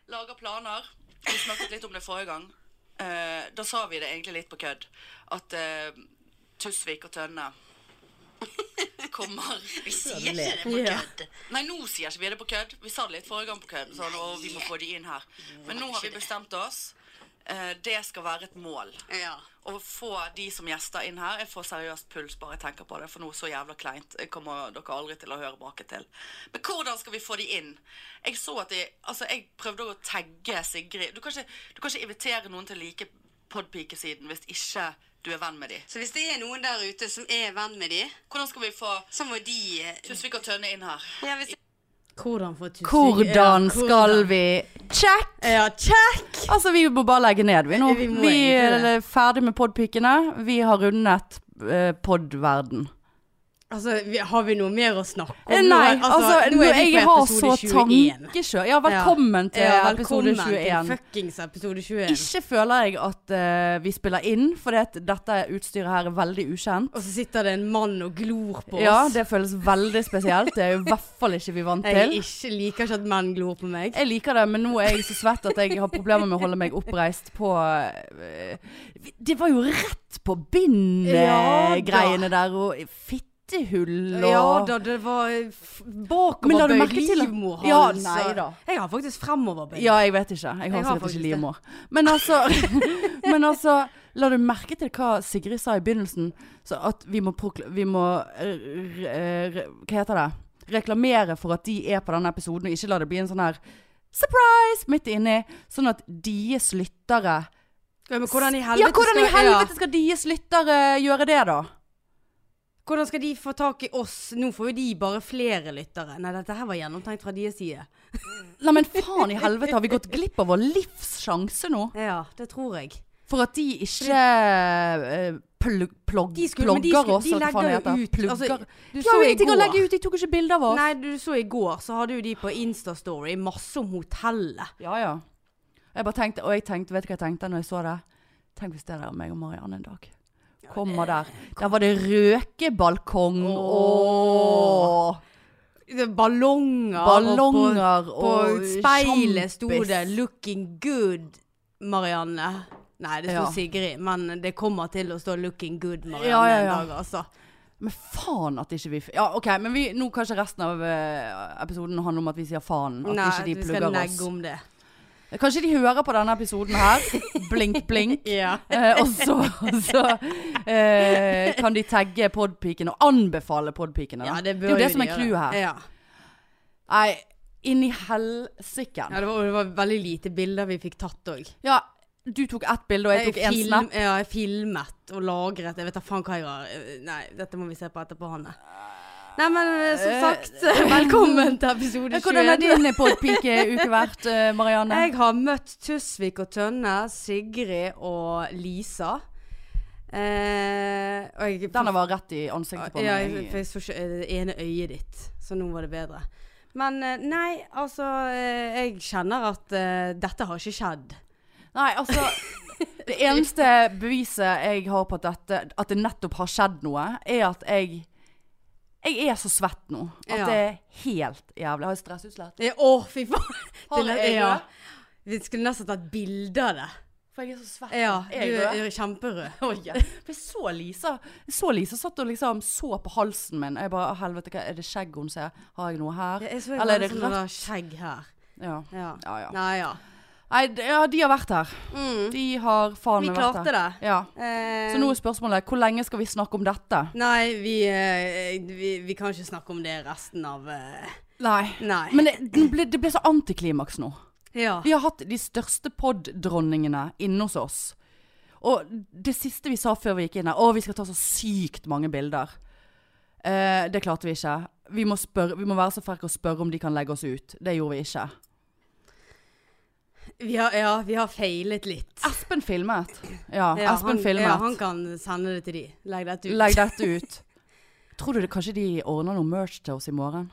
S4: Lager planer. Vi snakket litt om det forrige gang. Eh, da sa vi det egentlig litt på kødd. At eh, Tusvik og Tønne (laughs) kommer Vi sier ikke det på kødd. Nei, nå sier ikke vi det på kødd. Vi sa det litt forrige gang på kødd. Sånn, og vi må få de inn her. Men nå har vi bestemt oss. Eh, det skal være et mål.
S3: Ja.
S4: Å få de som gjester inn her Jeg får seriøst puls bare jeg tenker på det, for noe så jævla kleint jeg kommer dere aldri til å høre bake til. Men hvordan skal vi få de inn? Jeg så at de Altså, jeg prøvde å tagge Sigrid Du kan ikke, du kan ikke invitere noen til å like podpikesiden hvis ikke du er venn med de.
S3: Så hvis det er noen der ute som er venn med de,
S4: Hvordan skal vi få
S3: så må de eh,
S4: Tusvik og Tønne inn her?
S3: Hvordan få tusen
S4: vi Check!
S3: Ja, check!
S4: Altså, vi må bare legge ned, vi nå. Vi,
S3: Vi må egentlig det.
S4: er ferdig med podpikene. Vi har rundet eh, podverden.
S3: Altså, vi- har vi noe mer å snakke om?
S4: Eh,
S3: Nå
S4: Nei,
S3: er-
S4: altså,
S3: nå er vi
S4: jeg
S3: på
S4: har så
S3: episode 21.
S4: tankekjør. Ja, velkommen til
S3: ja,
S4: episode
S3: velkommen til
S4: 21.
S3: fuckings episode 21.
S4: Ikke føler jeg at eh, vi spiller inn, for dette utstyret her er veldig ukjent.
S3: Og så sitter det en mann og glor på oss.
S4: Ja, det føles veldig spesielt. Det er jo i hvert fall ikke vi vant
S3: jeg
S4: til.
S3: ikke, liker ikke at menn glor på meg.
S4: Jeg liker det, men nå er jeg så svett at jeg har problemer med å holde meg oppreist på eh, Det var jo rett på
S3: Ja da.
S4: bind-greiene der, og fittehull og
S3: Ja da, det var f-
S4: Men la du
S3: bakoverbøyd
S4: merke til at-
S3: livmorhals.
S4: Ja,
S3: og-
S4: nei da.
S3: Jeg har faktisk fremoverbøyd.
S4: Ja, jeg vet ikke. Jeg har
S3: har
S4: sikkert
S3: faktisk
S4: ikke
S3: det.
S4: livmor. Men altså, (laughs) men altså La du merke til hva Sigrid sa i begynnelsen? Så at vi må, prokl vi må eh, re- eh, Hva heter det? Reklamere for at de er på denne episoden, og ikke la det bli en sånn her Surprise! Midt inni. Sånn at deres lyttere
S3: Ja, men hvordan i
S4: Ja,
S3: helvete
S4: hvordan i
S3: skal-
S4: helvete skal deres lyttere eh, gjøre det, da?
S3: Hvordan skal de få tak i oss? Nå får jo de bare flere lyttere. Nei, dette her var gjennomtenkt fra deres side.
S4: Nei, men faen
S3: (laughs)
S4: i helvete, har vi gått glipp av vår livs sjanse nå?
S3: Ja, det tror jeg.
S4: For at de ikke eh, plug, plog,
S3: De skulle- men de
S4: plogger
S3: skulle-
S4: oss,
S3: de
S4: eller hva faen det
S3: legger jo
S4: heter.
S3: ut,
S4: Plugger.
S3: altså, du
S4: de
S3: så
S4: har jo
S3: i
S4: ingenting å
S3: går.
S4: legge ut, de tok ikke bilde av oss.
S3: Nei, du så i går, så hadde jo de på Instastory masse om hotellet.
S4: Ja, ja. Jeg bare tenkte, og jeg tenkte, vet du hva jeg tenkte når jeg så det? Tenk hvis det der er meg og Marianne en dag. Kommer der. Der var det røkebalkong. Åh.
S3: Det- Ballonger. Og
S4: Ballonger
S3: på, på
S4: og
S3: speilet sto
S4: sjampis.
S3: det 'Looking good, Marianne'. Nei, det sto
S4: Ja.
S3: Sigrid, men det kommer til å stå 'Looking good, Marianne'
S4: Ja, ja, ja.
S3: en dag, altså.
S4: Men faen at ikke vi f- Ja, OK, men vi, nå kanskje resten av eh, episoden handler om at vi sier faen. At
S3: Nei,
S4: ikke de
S3: vi skal
S4: plugger
S3: legge
S4: oss.
S3: om det.
S4: Kanskje de hører på denne
S3: (laughs)
S4: episoden her. blink, blink.
S3: Ja.
S4: Eh, og så, og så eh, kan de tagge podpiken og anbefale podpikene. da.
S3: ja, det
S4: det
S3: bør
S4: er jo det
S3: de
S4: som er
S3: gjøre.
S4: clouet her.
S3: Ja.
S4: Nei, inn i helsiken.
S3: Ja, det var, det var veldig lite bilder vi fikk tatt òg.
S4: Ja, du tok ett bilde, og jeg tok én snap.
S3: Ja, jeg filmet og lagret. Jeg vet da faen hva jeg har Nei, dette må vi se på etterpå, Hanne. Nei, men eh, som sagt, (laughs) velkommen til episode
S4: Hvordan er
S3: 21.
S4: din podpike uke hvert, eh, Marianne?
S3: Jeg har møtt Tusvik og Tønne, Sigrid og Lisa. Eh, og jeg,
S4: Denne var rett i ansiktet på
S3: ja, jeg, for
S4: meg.
S3: jeg så ikke eh, det ene øyet ditt, så nå var det bedre. Men eh, nei, altså eh, Jeg kjenner at eh, dette har ikke skjedd.
S4: Nei, altså
S3: (laughs)
S4: Det eneste beviset jeg har på at dette At det nettopp har skjedd noe, er at jeg Jeg er så svett nå at
S3: Ja.
S4: det er helt jævlig. Har jeg stressutslett?
S3: Eh, Å, fy faen!
S4: (laughs) Har
S3: Det-
S4: jeg
S3: ja.
S4: rød?
S3: Vi skulle nesten tatt bilde av det.
S4: For jeg er så svett.
S3: Ja,
S4: Er
S3: du
S4: jeg
S3: er,
S4: rød?
S3: er
S4: (laughs)
S3: kjemperød.
S4: Å, ja. For jeg så Lisa Jeg så Lisa satt og liksom så på halsen min. Jeg bare Helvete, hva er det skjegg hun ser? Har jeg noe her? Eller er det rødt?
S3: skjegg her?
S4: Ja.
S3: Ja.
S4: Ja, ja.
S3: Nei, ja.
S4: Nei, d- ja, de har vært her.
S3: Mm.
S4: De har faen
S3: Vi
S4: meg vært
S3: klarte
S4: her.
S3: det.
S4: Ja.
S3: Eh,
S4: Så nå er spørsmålet hvor lenge skal vi snakke om dette?
S3: Nei, vi, eh, vi, vi kan ikke snakke om det resten av eh,
S4: Nei.
S3: Nei.
S4: Men det, det, ble, det ble så antiklimaks nå.
S3: ja.
S4: Vi har hatt de største pod-dronningene inne hos oss. Og det siste vi sa før vi gikk inn her, å vi skal ta så sykt mange bilder. Eh, det klarte vi ikke. Vi må, spørre, vi må være så frekke og spørre om de kan legge oss ut. Det gjorde vi ikke.
S3: Vi har, ja, vi har feilet litt.
S4: Espen filmet. Ja,
S3: Ja,
S4: Espen
S3: han,
S4: filmet.
S3: Ja, han kan sende det til de. Legg dette ut.
S4: Legg
S3: (laughs)
S4: dette ut. Tror du det, kanskje de ordner noe merch til oss i morgen?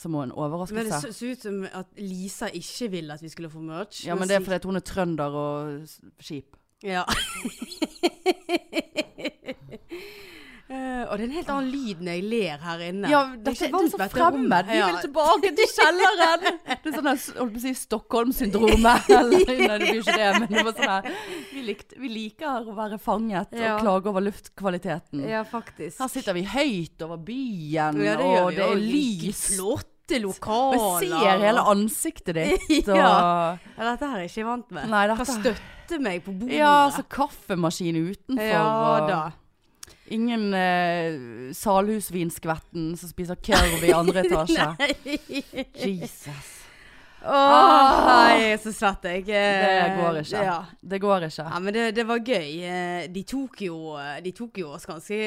S4: Som en
S3: Men det
S4: overraskelse?
S3: så, så ut som at Lisa ikke ville at vi skulle få merch.
S4: ja, men det er fordi at hun er trønder og s- kjip.
S3: Ja. (laughs) Eh, og det er en helt annen lyd når jeg ler her inne.
S4: Ja,
S3: Jeg
S4: dette
S3: ikke
S4: det er
S3: vant
S4: så
S3: med dette rommet.
S4: fremmed. Vi vil
S3: Ja.
S4: tilbake til kjelleren. (laughs) Det er sånn der, holdt på å si (laughs) Stockholm-syndromet. Eller nei, det blir ikke det, men det var sånn her. Vi, likte, vi liker å være fanget
S3: Ja.
S4: og klage over luftkvaliteten.
S3: Ja, faktisk.
S4: Her sitter vi høyt over byen,
S3: Ja, det gjør
S4: og
S3: vi
S4: det
S3: jo.
S4: er
S3: Like
S4: lys.
S3: Flotte
S4: Og
S3: lokaler.
S4: jeg ser hele ansiktet (laughs) ditt. Og...
S3: Ja. Ja, dette her er jeg ikke vant med.
S4: Nei,
S3: Kan
S4: dette-
S3: støtte meg på bordet.
S4: Ja, så kaffemaskin utenfor.
S3: Ja
S4: og
S3: da.
S4: Ingen eh, salhusvinskvetten som spiser curve i (laughs) andre etasje. Jesus.
S3: Åh, nei, jeg er så svett, jeg. Eh,
S4: Ah. Det går ikke.
S3: Ja.
S4: Det går ikke.
S3: Ja, men det, det var gøy. Eh, De tok, jo, eh, de tok jo oss ganske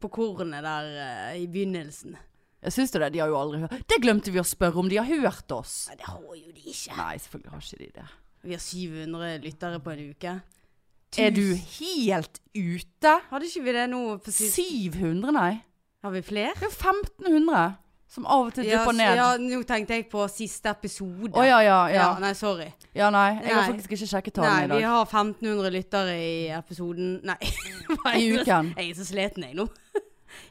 S3: på kornet der eh, i begynnelsen.
S4: Jeg syns det, de har jo aldri hørt Det glemte vi å spørre om de har hørt oss.
S3: Nei, det har jo de ikke.
S4: Nei, selvfølgelig har ikke de det.
S3: Vi har 700 lyttere på en uke.
S4: Er du helt ute?
S3: Hadde ikke vi det nå? på sist-
S4: 700, nei.
S3: Har vi flere?
S4: Det er jo 1500 som av og til dupper ned.
S3: ja, nå tenkte jeg på siste episode.
S4: Å ja, ja, ja.
S3: Nei, sorry.
S4: Ja, nei. Jeg har
S3: Nei.
S4: faktisk ikke sjekket
S3: Nei,
S4: tallene i
S3: vi
S4: dag.
S3: har 1500 lyttere i episoden Nei. (laughs) hva er
S4: I
S3: det?
S4: uken.
S3: Jeg er så sliten, jeg nå.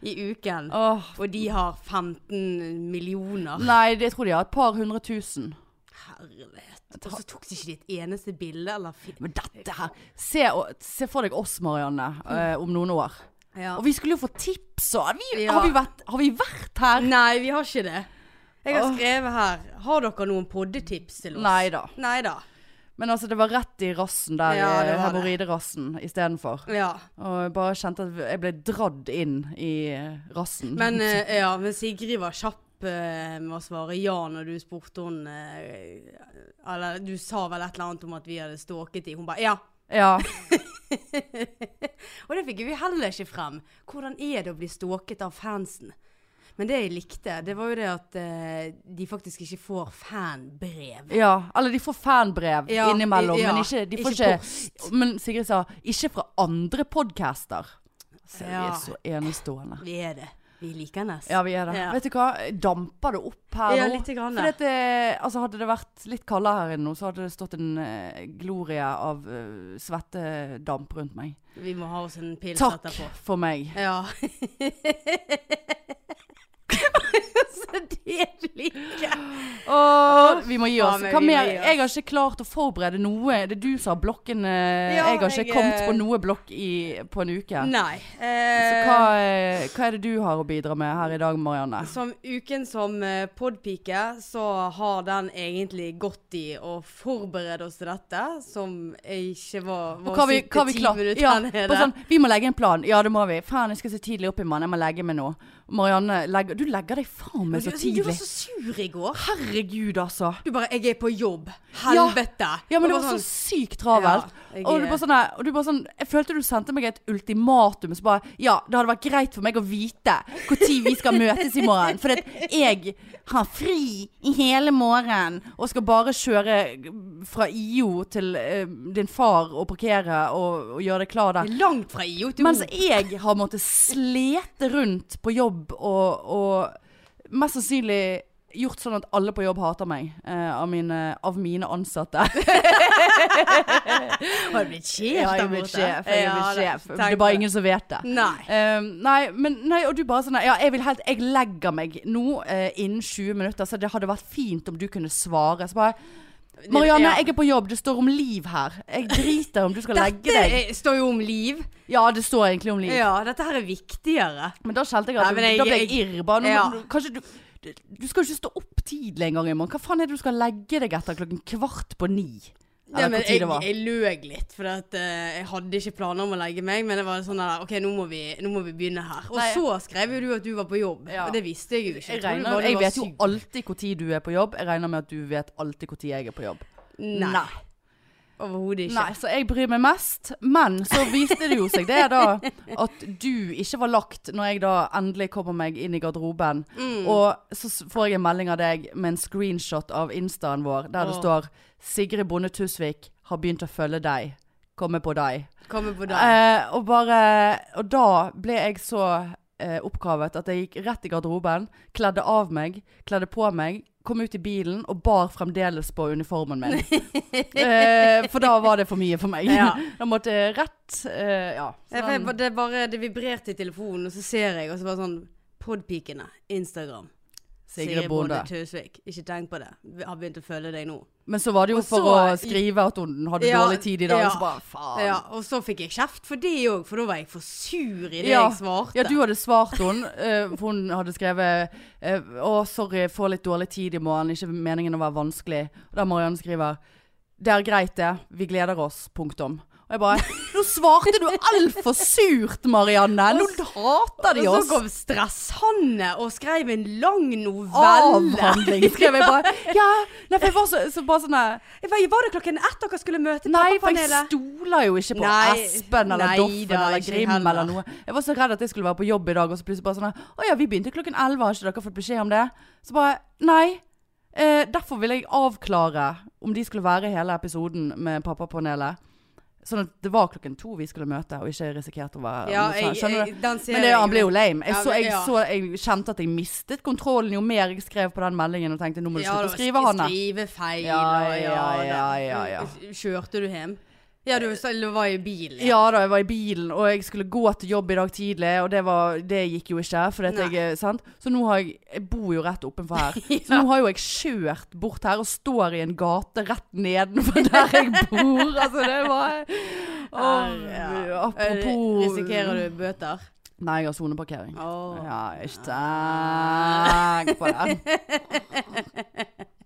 S3: (laughs) I uken.
S4: Åh,
S3: Og de har 15 millioner.
S4: nei, det tror de har et par hundre tusen.
S3: Herlighet. Og så tok de ikke de et eneste bilde, eller fi-
S4: Men dette her Se, og- se for deg oss, Marianne, eh, om noen år.
S3: Ja.
S4: Og vi skulle jo få tips og vi,
S3: Ja.
S4: har, vi vært, har vi vært her?
S3: Nei, vi har ikke det. Jeg har
S4: Åh.
S3: skrevet her Har dere noen poddetips til oss?
S4: Nei da.
S3: Nei da.
S4: Men altså, det var rett i rassen der,
S3: Ja, det Mm. var
S4: eh,
S3: det.
S4: hemoroiderassen istedenfor.
S3: Ja.
S4: Og jeg bare kjente at jeg ble dradd inn i rassen.
S3: Men, eh, ja, men eh, Sigrid var kjapp opp eh, med å svare ja når du spurte hun eh, Eller du sa vel et eller annet om at vi hadde stalket de. Hun bare ja.
S4: Ja.
S3: Og det fikk vi heller ikke frem. Hvordan er det å bli stalket av fansen? Men det jeg likte, det var jo det at eh, de faktisk ikke får fanbrev.
S4: Ja, eller de får fanbrev
S3: Ja,
S4: innimellom,
S3: ja,
S4: men ikke, de får
S3: ikke
S4: ikke, Men Sigrid sa ikke fra andre podcaster. Så vi
S3: Ja.
S4: er så enestående.
S3: Vi er det. Vi liker Ness.
S4: Ja, vi er det.
S3: Ja.
S4: Vet du hva, damper det opp her
S3: Ja,
S4: nå?
S3: lite grann.
S4: Fordi at det, altså, hadde det vært litt kaldere her inne nå, så hadde det stått en eh, glorie av eh, svettedamp rundt meg.
S3: Vi må ha oss en pils
S4: Takk
S3: etterpå.
S4: for meg.
S3: Ja. (laughs) Så det liker jeg.
S4: Og vi må gi oss.
S3: faen,
S4: Hva
S3: vi må
S4: mer?
S3: gi oss.
S4: Jeg har ikke klart å forberede noe. Det er du som har blokken. eh,
S3: Ja,
S4: jeg har ikke
S3: jeg,
S4: kommet
S3: eh,
S4: på noe blokk i, på en uke.
S3: Nei.
S4: Så
S3: Eh,
S4: hva, eh, hva er det du har å bidra med her i dag, Marianne?
S3: Som uken som eh, podpike, så har den egentlig gått i å forberede oss til dette, som ikke var,
S4: Og
S3: var
S4: hva vi,
S3: siste
S4: hva vi
S3: ti
S4: klar,
S3: minutter
S4: ja,
S3: her nede.
S4: bare sånn, vi må legge en plan. Ja, det må vi. Faen, jeg skal se tidlig opp i morgen. Jeg må legge meg nå. Marianne, legger, du legger deg faen
S3: du,
S4: meg så
S3: du var
S4: tidlig.
S3: så sur i går.
S4: Herregud, altså.
S3: Du bare 'Jeg er på jobb'. Helvete. sånn-
S4: Ja, men
S3: Og
S4: det var
S3: bare
S4: så sykt travelt.
S3: Ja, jeg-
S4: og, du bare sånn, der- og du bare sånn Jeg følte du sendte meg et ultimatum. Så bare Ja, det hadde vært greit for meg å vite når vi skal møtes i morgen. For at jeg har fri i hele morgen og skal bare kjøre fra IO til eh, din far og parkere og, og gjøre det klar der.
S3: Det er langt fra IO til
S4: Mens
S3: O.
S4: jeg har måttet slete rundt på jobb og, og mest sannsynlig gjort sånn at alle på jobb hater meg. eh, av, mine, av mine ansatte.
S3: Har du blitt sjef
S4: Ja, jeg
S3: der
S4: er blitt
S3: borte?
S4: sjef. Jeg er blitt
S3: Ja,
S4: sjef.
S3: tenk
S4: Det er bare
S3: på
S4: ingen som vet det.
S3: Nei.
S4: Eh, nei, men nei, og du bare sånn Ja, jeg vil helt Jeg legger meg nå eh, innen 20 minutter, så det hadde vært fint om du kunne svare. Så bare Marianne,
S3: ja.
S4: jeg er på jobb. Det står om liv her. Jeg driter om du (laughs) skal legge
S3: Dette
S4: deg.
S3: er- står jo om liv.
S4: Ja, det står egentlig om liv.
S3: Ja, dette her er viktigere.
S4: Men da kjente jeg at
S3: Nei, men
S4: du-
S3: jeg-
S4: da ble jeg
S3: jeg-
S4: irr. Bare, nå,
S3: Ja.
S4: nå- kanskje du, du- du skal jo ikke stå opp tidlig en gang i morgen. Hva faen er det du skal legge deg etter klokken kvart på ni?
S3: Ja,
S4: Eller
S3: men
S4: hva tid
S3: jeg,
S4: det var.
S3: jeg løg litt, for at, eh, jeg hadde ikke planer om å legge meg. Men det var sånn der, OK, nå må vi, nå må vi begynne her. Og
S4: Nei.
S3: så skrev jo du at du var på jobb,
S4: Ja.
S3: og det visste jeg jo ikke.
S4: Jeg,
S3: trodde
S4: regner,
S3: bare du
S4: jeg
S3: var
S4: vet jo
S3: syk.
S4: alltid når du er på jobb. Jeg regner med at du vet alltid når jeg er på jobb.
S3: Nei. Overhodet ikke.
S4: Nei, så jeg bryr meg mest. Men så viste det jo seg det da at du ikke var lagt når jeg da endelig kommer meg inn i garderoben.
S3: Mm.
S4: Og så s- får jeg en melding av deg med en screenshot av instaen vår der det
S3: Åh.
S4: står Sigrid Bonde Tusvik har begynt å følge deg. Komme på deg.
S3: Kommer på deg.
S4: Eh, og, bare, og da ble jeg så eh, oppkavet at jeg gikk rett i garderoben, kledde av meg, kledde på meg, kom ut i bilen og bar fremdeles på uniformen min.
S3: (laughs)
S4: eh, for da var det for mye for meg.
S3: Ja.
S4: (laughs) da måtte jeg rett eh, Ja. Så
S3: Jeg vet
S4: den-
S3: bare- det, er bare, det vibrerte i telefonen, og så ser jeg, og så bare sånn Podpikene. Instagram.
S4: Sigrid Bonde.
S3: Tusvik. Ikke tenk på det. Vi har begynt å følge deg nå.
S4: Men så var det jo
S3: Og
S4: for
S3: så-
S4: å skrive at hun hadde
S3: Ja,
S4: dårlig tid i dag.
S3: ja.
S4: Så bare faen.
S3: Ja, og så fikk jeg kjeft for det òg, for da var jeg for sur i det
S4: Ja.
S3: jeg svarte.
S4: Ja, du hadde svart hun. eh, for hun hadde skrevet eh, 'Å, sorry, får litt dårlig tid i morgen. Ikke meningen å være vanskelig.' Og da Marianne skriver 'Det er greit, det. Vi gleder oss. Punktum.' Og jeg bare 'Nå svarte du altfor surt, Marianne! Nå hater de
S3: Og
S4: oss!'
S3: så kom Stress-Hanne og skrev en lang novelle. (laughs)
S4: Avhandling, skrev jeg bare. Ja, nei, for jeg var så, så bare sånn eh,
S3: Jeg var, var det klokken ett dere skulle møte
S4: Nei, for jeg
S3: pappapanelet?
S4: stoler jo ikke på
S3: Nei,
S4: Espen eller
S3: nei
S4: Doffen
S3: da,
S4: eller
S3: ikke
S4: Grim
S3: heller.
S4: eller noe. Jeg var så redd at jeg skulle være på jobb i dag, og så plutselig bare sånn her, Å ja, vi begynte klokken 11, har ikke dere fått beskjed om det? Så bare Nei. Eh, derfor ville jeg avklare om de skulle være hele episoden med pappapanelet. Sånn at det var klokken to vi skulle møte, og ikke risikerte å være
S3: Ja,
S4: noe
S3: jeg,
S4: sånn. Skjønner
S3: jeg,
S4: du?
S3: den ser
S4: Men det,
S3: jeg
S4: han ble jo lame. Jeg,
S3: Ja,
S4: så,
S3: men-
S4: jeg,
S3: ja.
S4: så, jeg kjente at jeg mistet kontrollen jo mer jeg skrev på den meldingen og tenkte nå må du
S3: Ja,
S4: slutte
S3: det var
S4: å skrive,
S3: sk-
S4: Hanne.
S3: Skrivefeil
S4: Ja,
S3: og
S4: ja,
S3: da.
S4: ja, ja, ja.
S3: Kjørte du hjem? Ja, du sa- du var i bilen.
S4: Ja da, jeg var i bilen, og jeg skulle gå til jobb i dag tidlig, og det, var, det gikk jo ikke. For at
S3: Nei.
S4: jeg, eh, sant? Så nå har jeg Jeg bor jo rett
S3: (laughs)
S4: oppenfor her. Så nå har jo jeg kjørt bort her og står i en gate rett nedenfor
S3: (laughs)
S4: der jeg bor. Altså, det var Å, Apropos
S3: Risikerer du bøter?
S4: Nei, jeg har soneparkering.
S3: Åh. Ah.
S4: Ja, ikke tenk på den.
S3: (laughs)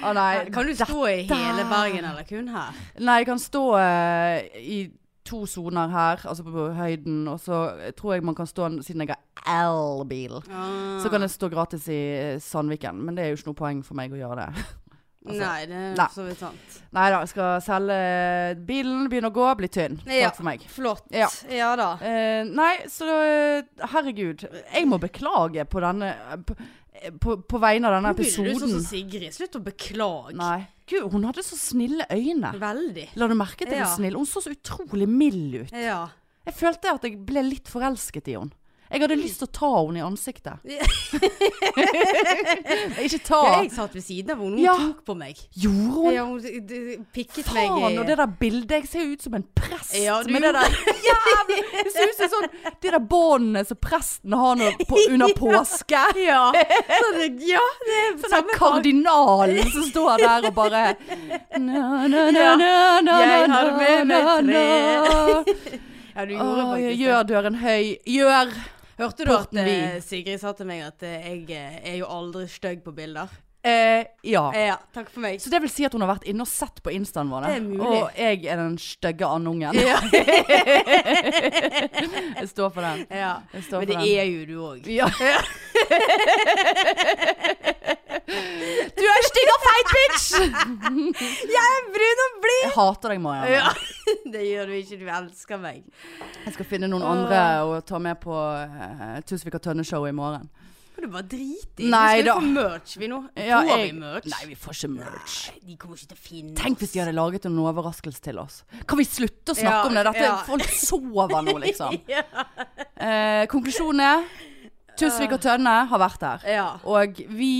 S4: Å nei.
S3: Kan du stå i hele Bergen, eller kun her?
S4: Nei, jeg kan stå eh, i to soner her, altså på, på høyden, og så tror jeg man kan stå, siden jeg har elbil.
S3: Ah,
S4: Så kan det stå gratis i eh, Sandviken, men det er jo ikke noe poeng for meg å gjøre det. (laughs) altså,
S3: nei, det er
S4: nei.
S3: for så vidt sant.
S4: Nei da, jeg skal selge eh, bilen, begynne å gå, bli tynn. Takk
S3: Ja.
S4: for meg.
S3: Flott.
S4: Ja.
S3: ja da.
S4: Eh, nei, så eh, herregud. Jeg må beklage på denne eh, På, på, på vegne av denne
S3: Nå begynner du sånn
S4: episoden.
S3: som Sigrid. Slutt å beklage.
S4: Nei. Gud, hun hadde så snille øyne.
S3: Veldig.
S4: La du merke til
S3: Ja.
S4: hvor snill? Hun så så utrolig mild ut.
S3: Ja.
S4: Jeg følte at jeg ble litt forelsket i henne. Jeg
S3: Mm.
S4: hadde lyst til å ta henne i ansiktet.
S3: (laughs)
S4: (laughs) Ikke ta.
S3: Ja, jeg satt ved siden av henne, hun
S4: Ja.
S3: tok på meg.
S4: Gjorde hun
S3: Ja, hun d- d- pikket meg i
S4: Faen, og det der bildet Jeg ser jo ut som en prest
S3: Ja, du
S4: med det der jævlig Det ser ut som sånn De der båndene som presten har når,
S3: (laughs)
S4: på, under påske
S3: Ja. Så det, ja, det er
S4: Sånn der kardinalen som står der og bare na, na, na, na, na,
S3: Jeg har
S4: na,
S3: med meg
S4: na,
S3: tre.
S4: na.
S3: Ja, (laughs) du gjorde
S4: Åh,
S3: faktisk det.
S4: Gjør døren høy Gjør
S3: Hørte du at
S4: porten
S3: eh,
S4: vid.
S3: Sigrid sa til meg at eh, jeg eh, er jo aldri stygg på bilder?
S4: eh, Ja
S3: Ja, takk for
S4: (laughs)
S3: meg.
S4: Så det vil si at hun har vært inne og sett på instaen vår
S3: Det er mulig.
S4: Og jeg er den stygge andungen
S3: Ja.
S4: Jeg står for den
S3: Ja.
S4: Jeg står
S3: Men
S4: for
S3: det
S4: den
S3: er jo du òg. (laughs)
S4: Ja. du er stygg og feit bitch!
S3: (laughs) Brun og blid!
S4: Jeg hater deg, Marianne.
S3: (laughs) Ja. Det gjør du ikke. Du elsker meg.
S4: Jeg skal finne noen andre å ta med på uh, Tusvik og Tønne-show i morgen.
S3: Kan du bare drite i? Vi
S4: Nei
S3: skal jo
S4: da.
S3: få merch, vi nå.
S4: Ja,
S3: Får
S4: jeg-
S3: vi merch?
S4: Nei, vi får ikke merch.
S3: De kommer ikke til å finne
S4: Tenk hvis de hadde laget en overraskelse til oss. Kan vi slutte å snakke
S3: Ja,
S4: om det? Dette
S3: ja.
S4: Folk sover nå, liksom. (laughs) Eh, konklusjonen er Tusvik og Tønne har vært her.
S3: Ja.
S4: Og vi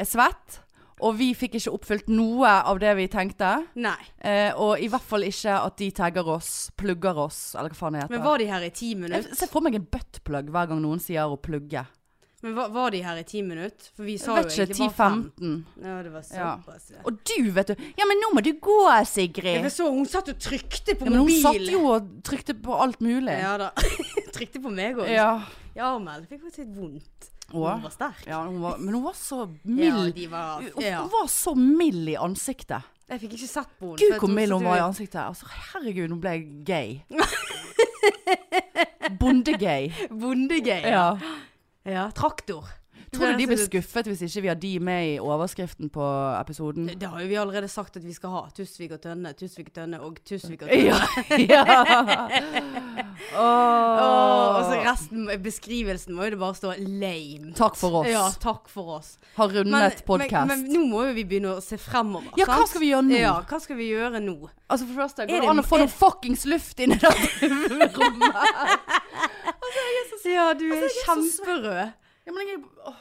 S4: er svett. Og vi fikk ikke oppfylt noe av det vi tenkte.
S3: Nei.
S4: Eh, og i hvert fall ikke at de tagger oss, plugger oss, eller hva faen det heter.
S3: Men var de her i ti minutter?
S4: Jeg ser for meg en buttplug hver gang noen sier å plugge.
S3: Men var, var de her i ti minutter? For vi
S4: Jeg
S3: sa jo
S4: vet
S3: egentlig
S4: ikke,
S3: bare fem.
S4: 10-15.
S3: Ja, det var
S4: Ja.
S3: såpass. Ja.
S4: Og du, vet du. Ja, men nå må du gå,
S3: Jeg
S4: Sigrid.
S3: så hun satt og trykte på
S4: Ja, men hun
S3: mobilen.
S4: satt jo og trykte på alt mulig.
S3: Ja da. (laughs) trykte på meg òg.
S4: Ja.
S3: Ja, men det fikk faktisk litt vondt.
S4: Å?
S3: Hun var sterk.
S4: Ja, hun var, men hun var så
S3: (laughs) Ja,
S4: mild.
S3: de var,
S4: Hun
S3: ja.
S4: hun var så mild i ansiktet.
S3: Jeg fikk ikke sett på henne.
S4: Gud,
S3: for jeg
S4: hvor
S3: tror
S4: mild hun
S3: du-
S4: var i ansiktet. Altså, herregud, nå ble jeg gay.
S3: (laughs)
S4: Bondegay.
S3: Bondegøy.
S4: Ja.
S3: Ja, Traktor.
S4: Tror du de blir skuffet hvis ikke vi har de med i overskriften på episoden?
S3: Det har jo vi allerede sagt at vi skal ha. Tusvik og Tønne, Tusvik og Tønne og Tusvik og Tønne.
S4: (laughs)
S3: (laughs)
S4: Ja. ja.
S3: Åh, og
S4: Åh.
S3: så resten, beskrivelsen må jo det bare stå lame.
S4: Takk for oss.
S3: Ja, takk for oss.
S4: Har
S3: Men,
S4: rundet
S3: men,
S4: podkast.
S3: men nå må jo vi begynne å se fremover.
S4: Ja, hva
S3: sant?
S4: skal vi gjøre nå?
S3: Ja, hva skal vi gjøre nå?
S4: Altså for det første,
S3: Er
S4: Går det
S3: det-
S4: an å få
S3: er-
S4: noe fuckings luft inn i det rommet?
S3: Ja, du er
S4: Altså, så
S3: kjemperød.
S4: Ja, men jeg, åh,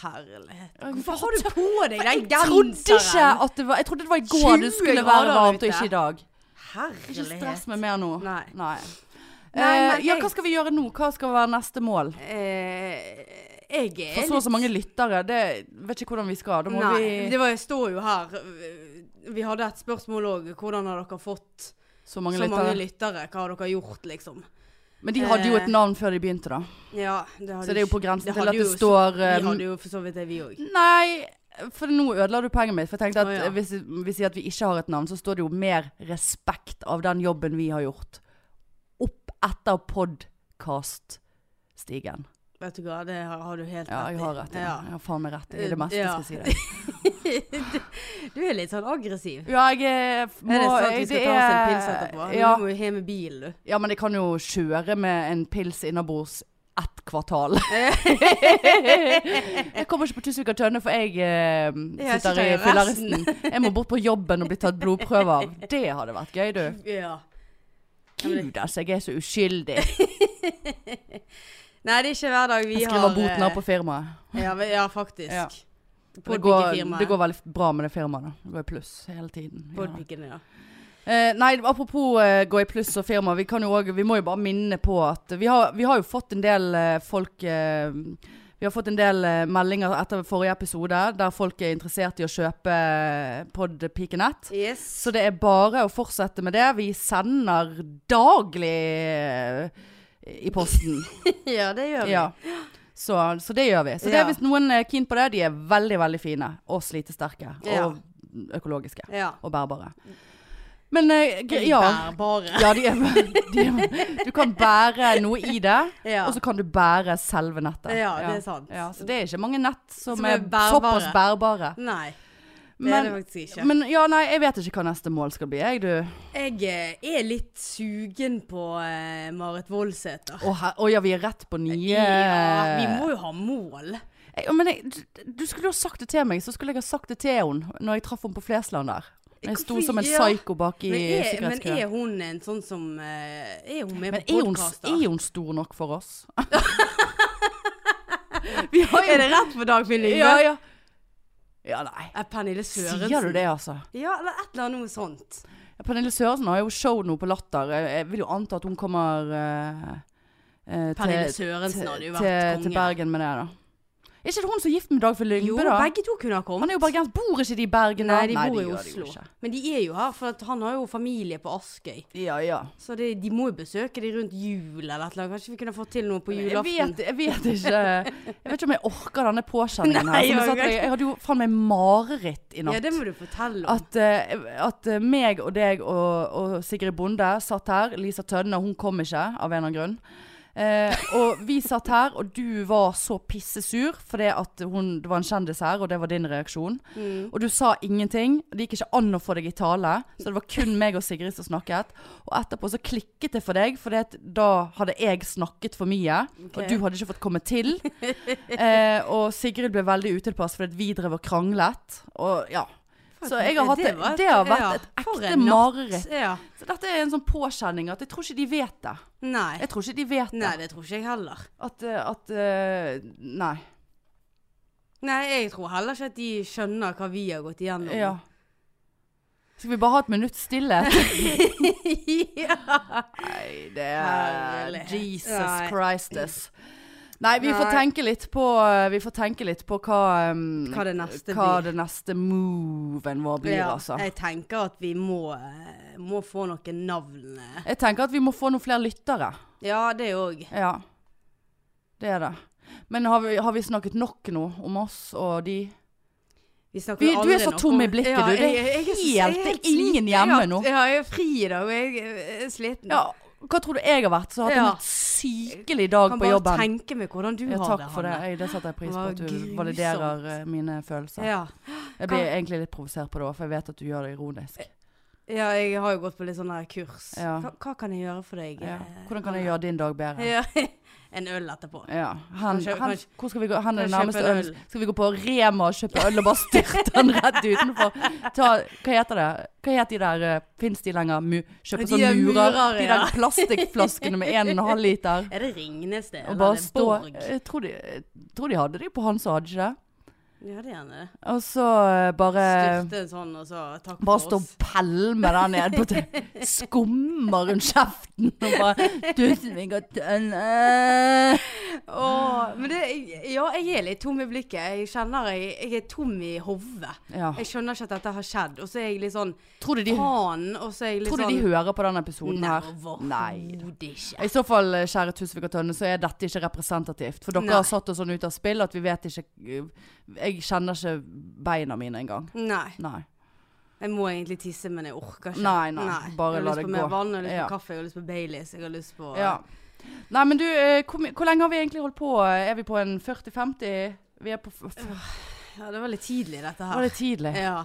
S3: Herlighet.
S4: jeg-
S3: Hvorfor har du på deg den
S4: Jeg trodde ikke
S3: genseren?
S4: at det var Jeg trodde det var i går det
S3: 20
S4: skulle
S3: grader
S4: være varmt, og
S3: ute.
S4: ikke i dag. Ikke stress
S3: Herlighet.
S4: meg mer nå.
S3: Nei. Nei,
S4: Eh,
S3: men
S4: ja,
S3: jeg-
S4: hva skal vi gjøre nå? Hva skal være neste mål?
S3: Eh, jeg er
S4: For så og så mange lyttere, det vet ikke hvordan vi skal. Da må
S3: Nei,
S4: vi
S3: det var, jeg står jo her. Vi hadde et spørsmål òg. Hvordan har dere fått
S4: Så mange
S3: så mange
S4: lyttere.
S3: lyttere? Hva har dere gjort, liksom?
S4: Men de hadde jo
S3: Eh,
S4: et navn før de begynte, da.
S3: Ja, det hadde
S4: Så det er jo på
S3: ikke-
S4: grensen til
S3: hadde
S4: at det
S3: jo-
S4: står
S3: Vi
S4: eh,
S3: hadde jo for så vidt det, vi òg.
S4: Nei, for nå ødela du poenget mitt. For jeg tenkte at
S3: Å, ja.
S4: eh, hvis vi sier at vi ikke har et navn, så står det jo mer respekt av den jobben vi har gjort. Opp etter podkast-stigen.
S3: Vet du hva, det har, har du helt
S4: Ja, jeg har rett i det.
S3: Ja.
S4: Jeg har faen meg rett i det meste
S3: Ja.
S4: jeg
S3: (laughs)
S4: skal si det.
S3: Du er litt sånn aggressiv.
S4: Ja, jeg eh, f- må
S3: er det sant vi
S4: jeg-
S3: skal
S4: det
S3: ta oss en
S4: er-
S3: pils etterpå?
S4: Ja,
S3: Du må jo hjem med bil, du.
S4: ja, men jeg kan jo kjøre med en pils innabords ett
S3: (laughs)
S4: kvartal. jeg kommer ikke på Tusvik og Tønne, for jeg eh,
S3: jeg
S4: sitter i
S3: sitter i
S4: fylleristen. Jeg må bort på jobben og bli tatt blodprøver. Det hadde vært gøy, du.
S3: Ja.
S4: Gud, altså, jeg er så uskyldig.
S3: Nei, det er ikke hver dag vi
S4: Jeg
S3: har
S4: skriver boten av
S3: eh,
S4: på firmaet.
S3: Ja, men- ja faktisk.
S4: Ja.
S3: På
S4: Det går,
S3: byggefirmaet.
S4: det går veldig bra med det firmaet. da. Det går i pluss hele tiden. Ja.
S3: Podpikkene, ja.
S4: Eh, nei, apropos eh, gå i pluss og firma. Vi, kan jo også, vi må jo bare minne på at vi har, vi har jo fått en del eh, folk eh, Vi har fått en del eh, meldinger etter forrige episode der folk er interessert i å kjøpe eh, Podpikenett.
S3: Yes.
S4: Så det er bare å fortsette med det. Vi sender daglig eh, i posten.
S3: Ja, (laughs) det gjør vi.
S4: Ja. Så, så det gjør vi. Så det,
S3: Ja.
S4: er hvis noen er keen på det, de er veldig, veldig fine og slitesterke.
S3: Ja.
S4: Og økologiske.
S3: Ja.
S4: Og bærbare. Men eh, gre- ja.
S3: Bær bare.
S4: ja de er, de er, du kan bære noe i det,
S3: Ja.
S4: og så kan du bære selve nettet.
S3: Ja, det er sant.
S4: Ja, så det er ikke mange nett som,
S3: Som er
S4: er,
S3: bærbare.
S4: såpass bærbare.
S3: Nei, det er det
S4: Men,
S3: faktisk ikke.
S4: men ja, nei, jeg vet ikke hva neste mål skal bli, jeg, du.
S3: Jeg eh, er litt sugen på eh, Marit Voldsæter.
S4: Å her- å ja, vi er rett på nye
S3: Ja, vi må jo ha mål.
S4: Jeg- å, men jeg, du, du skulle jo ha sagt det til meg, så skulle jeg ha sagt det til henne når jeg traff henne på Flesland der. Jeg sto
S3: Hvorfor-
S4: som en
S3: ja.
S4: psyko bak i
S3: Men er, men
S4: sikkerhetskøen.
S3: er hun en sånn som eh, Er hun med
S4: Men
S3: på
S4: er hun, er
S3: podkaster?
S4: hun stor nok for
S3: (laughs)
S4: oss? vi har jo
S3: Er det rett for Dagfinn Lyngve?
S4: Ja, ja. Ja, nei.
S3: Eh, Pernille Sørensen.
S4: Sier du det, altså?
S3: Ja, eller et eller annet sånt.
S4: Ja, Pernille Sørensen har jo show nå på Latter. Jeg jeg vil jo anta at hun kommer eh, eh,
S3: Pernille
S4: til, til,
S3: Sørensen hadde jo vært
S4: til, til
S3: konge.
S4: Bergen med det, da. Er ikke det hun som er gift med Dagfinn
S3: Jo,
S4: Lyngbe, da?
S3: begge to kunne ha kommet.
S4: Han er jo bergensk. Bor ikke de i Bergen, da?
S3: Nei, de bor i
S4: gjør
S3: Oslo.
S4: jo ikke.
S3: Men de er jo her, for at han har jo familie på Askøy.
S4: Ja, ja.
S3: Så det, de må jo besøke de rundt jul eller et eller annet. Kanskje vi kunne fått til noe på
S4: Jeg
S3: julaften?
S4: vet, jeg vet ikke Jeg vet ikke om jeg orker denne påkjenningen
S3: Nei,
S4: her. Som jeg, sa
S3: jeg
S4: til deg, jeg hadde jo faen meg mareritt i natt.
S3: Ja, det må du fortelle om.
S4: at, eh, at eh, meg og deg og, og Sigrid Bonde satt her. Lisa Tønne, hun kom ikke av en eller annen grunn. Eh, og vi satt her, og du var så pissesur fordi at hun, det var en kjendis her, og det var din reaksjon.
S3: Mm.
S4: Og du sa ingenting. Det gikk ikke an å få deg i tale, så det var kun meg og Sigrid som snakket. Og etterpå så klikket det for deg, for da hadde jeg snakket for mye,
S3: Ok.
S4: og du hadde ikke fått komme
S3: (laughs)
S4: til. Eh, og Sigrid ble veldig utilpass fordi at vi drev og kranglet. Og ja. Så jeg har hatt det,
S3: var et-
S4: det har vært
S3: ja,
S4: et
S3: for
S4: ekte
S3: en natt.
S4: mareritt.
S3: Ja.
S4: Så dette er en sånn påkjenning at jeg tror ikke de vet det.
S3: Nei.
S4: Jeg tror ikke de vet det.
S3: Nei, det tror ikke jeg heller.
S4: At, eh, at eh, Nei.
S3: Nei, jeg tror heller ikke at de skjønner hva vi har gått igjennom.
S4: Ja. Skal vi bare ha et minutt stillhet? (laughs)
S3: Ja.
S4: Nei, det er
S3: Herlighet.
S4: Jesus
S3: Nei.
S4: Christus. Nei, vi får
S3: Nei.
S4: tenke litt på eh, Vi får tenke litt på hva um,
S3: Hva det neste
S4: hva
S3: blir.
S4: det neste moven vår blir,
S3: Ja,
S4: altså.
S3: Jeg tenker at vi må, eh, må få noen navn. eh.
S4: Jeg tenker at vi må få noen flere lyttere.
S3: Ja, det òg.
S4: Ja. Det er det. Men har vi, har vi snakket nok nå om oss og de?
S3: Vi snakker
S4: Vi,
S3: jo
S4: du
S3: aldri
S4: er så
S3: nok
S4: tom i
S3: om-
S4: blikket,
S3: Ja,
S4: du. Det
S3: jeg- jeg-
S4: er
S3: jeg så- jeg
S4: helt, det er ingen
S3: sliten. Jeg har-
S4: hjemme nå.
S3: Ja, jeg er fri i dag, og jeg er sliten.
S4: Ja, hva tror du jeg har vært? Så har jeg
S3: Ja.
S4: hatt en sykelig dag på jobben.
S3: Kan bare tenke meg hvordan du
S4: Ja,
S3: har det,
S4: takk for det.
S3: Hanne.
S4: Jeg, det setter jeg pris på.
S3: Å,
S4: At du
S3: grusomt.
S4: validerer eh, mine følelser.
S3: Ja.
S4: Jeg blir egentlig litt provosert på det òg, for jeg vet at du gjør det ironisk.
S3: ja, jeg har jo gått på litt sånn her kurs.
S4: Ja.
S3: Hva, hva kan jeg gjøre for deg?
S4: Ja.
S3: eh,
S4: Hvordan kan jeg gjøre din dag bedre?
S3: Ja. (laughs) En øl etterpå.
S4: Ja. Hen,
S3: Kanskje-
S4: hen,
S3: kanskje-
S4: hvor skal vi gå? Hen er det
S3: kanskje
S4: nærmeste
S3: kjøpe en
S4: øl?
S3: øl.
S4: Skal vi gå på Rema og kjøpe øl og bare styrte den rett utenfor? Ta, hva heter det? Hva heter de der Fins de lenger? Mu, kjøpe
S3: De
S4: sånne
S3: er
S4: murer?
S3: murer,
S4: De
S3: ja.
S4: der plastikkflaskene med
S3: (laughs)
S4: 1,5 liter?
S3: Er det Ringnes det?
S4: Og
S3: Eller er
S4: bare
S3: det
S4: stå
S3: Borg?
S4: Jeg tror de, jeg tror de hadde de på han som hadde ikke det.
S3: Ja, det er gjerne det.
S4: Og så eh, bare
S3: Styrte en sånn, og så takk for
S4: Bare
S3: oss.
S4: stå og pælme der nede
S3: (laughs)
S4: på te- Skummer rundt kjeften og bare Tusen vi går til
S3: (laughs)
S4: en eh».
S3: Åh, men det, ja, jeg er litt tom i blikket. Jeg kjenner jeg, jeg er tom i hodet.
S4: Ja.
S3: Jeg skjønner ikke at dette har skjedd. Og så er jeg litt sånn
S4: Ah. Tror du de,
S3: faen. Og så er jeg litt
S4: tror du de
S3: sånn
S4: hører på denne episoden her? Nei.
S3: overhodet ikke.
S4: I så fall, eh, kjære Tusvik og Tønne, så er dette ikke representativt. For dere
S3: Nei.
S4: har satt oss sånn ut av spill at vi vet ikke eh, Jeg kjenner ikke beina mine engang.
S3: Nei.
S4: Nei.
S3: Jeg må egentlig tisse, men jeg orker ikke.
S4: Nei, nei, bare
S3: jeg har
S4: la
S3: lyst
S4: det
S3: på mer
S4: gå.
S3: vann, jeg har lyst
S4: Ja.
S3: på kaffe, jeg har lyst på Baileys, jeg har lyst på
S4: Ja. Nei, men du, eh, hvor, my- hvor lenge har vi egentlig holdt på? Er vi på en 40-50? Vi er på f f
S3: Ja, det var litt tidlig, dette
S4: Var
S3: her.
S4: det tidlig?
S3: Ja,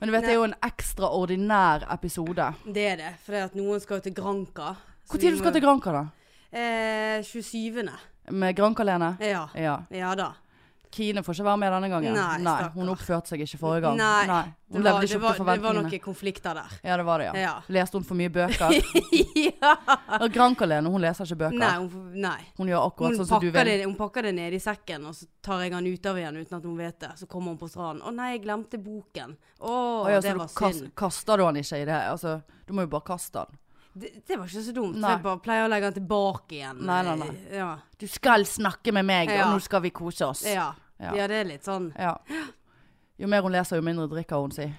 S4: Men du vet, det er jo en ekstraordinær episode.
S3: det er det. For at noen skal jo til Granca.
S4: Når skal du skal til Granca, da?
S3: Eh, 27.
S4: Med Granca-Lene?
S3: Ja.
S4: Ja.
S3: Ja da.
S4: Kine får ikke være med denne gangen.
S3: Nei, stakkar.
S4: Hun oppførte seg ikke forrige gang.
S3: Nei,
S4: Hun
S3: det,
S4: levde
S3: var,
S4: ikke
S3: det,
S4: opp til
S3: var, det var
S4: liksom forventningene.
S3: noen konflikter der.
S4: Ja, det var det, ja.
S3: Ja.
S4: Leste hun for mye
S3: (laughs)
S4: bøker? (laughs) Og Granca-Lene, hun leser ikke bøker.
S3: Nei, hun, får- nei.
S4: Hun gjør akkurat
S3: Hun,
S4: sånn som du
S3: pakker
S4: vil.
S3: det, hun pakker det ned i sekken, og så tar jeg han ut av igjen uten at hun vet det. Så kommer hun på stranden. 'Å nei, jeg glemte boken'. Å,
S4: Å ja, så
S3: det
S4: du
S3: var
S4: kas-
S3: synd.
S4: kaster du han ikke i det? Altså, du må jo bare kaste han.
S3: Det, det var ikke så dumt.
S4: Nei.
S3: Så jeg bare pleier å legge den tilbake igjen.
S4: Nei, nei, nei.
S3: Ja.
S4: Du skal snakke med meg,
S3: Ja.
S4: og nå skal vi kose oss.
S3: Ja.
S4: Ja.
S3: ja, det er litt sånn
S4: Ja. Jo mer hun leser, jo mindre drikker hun, si.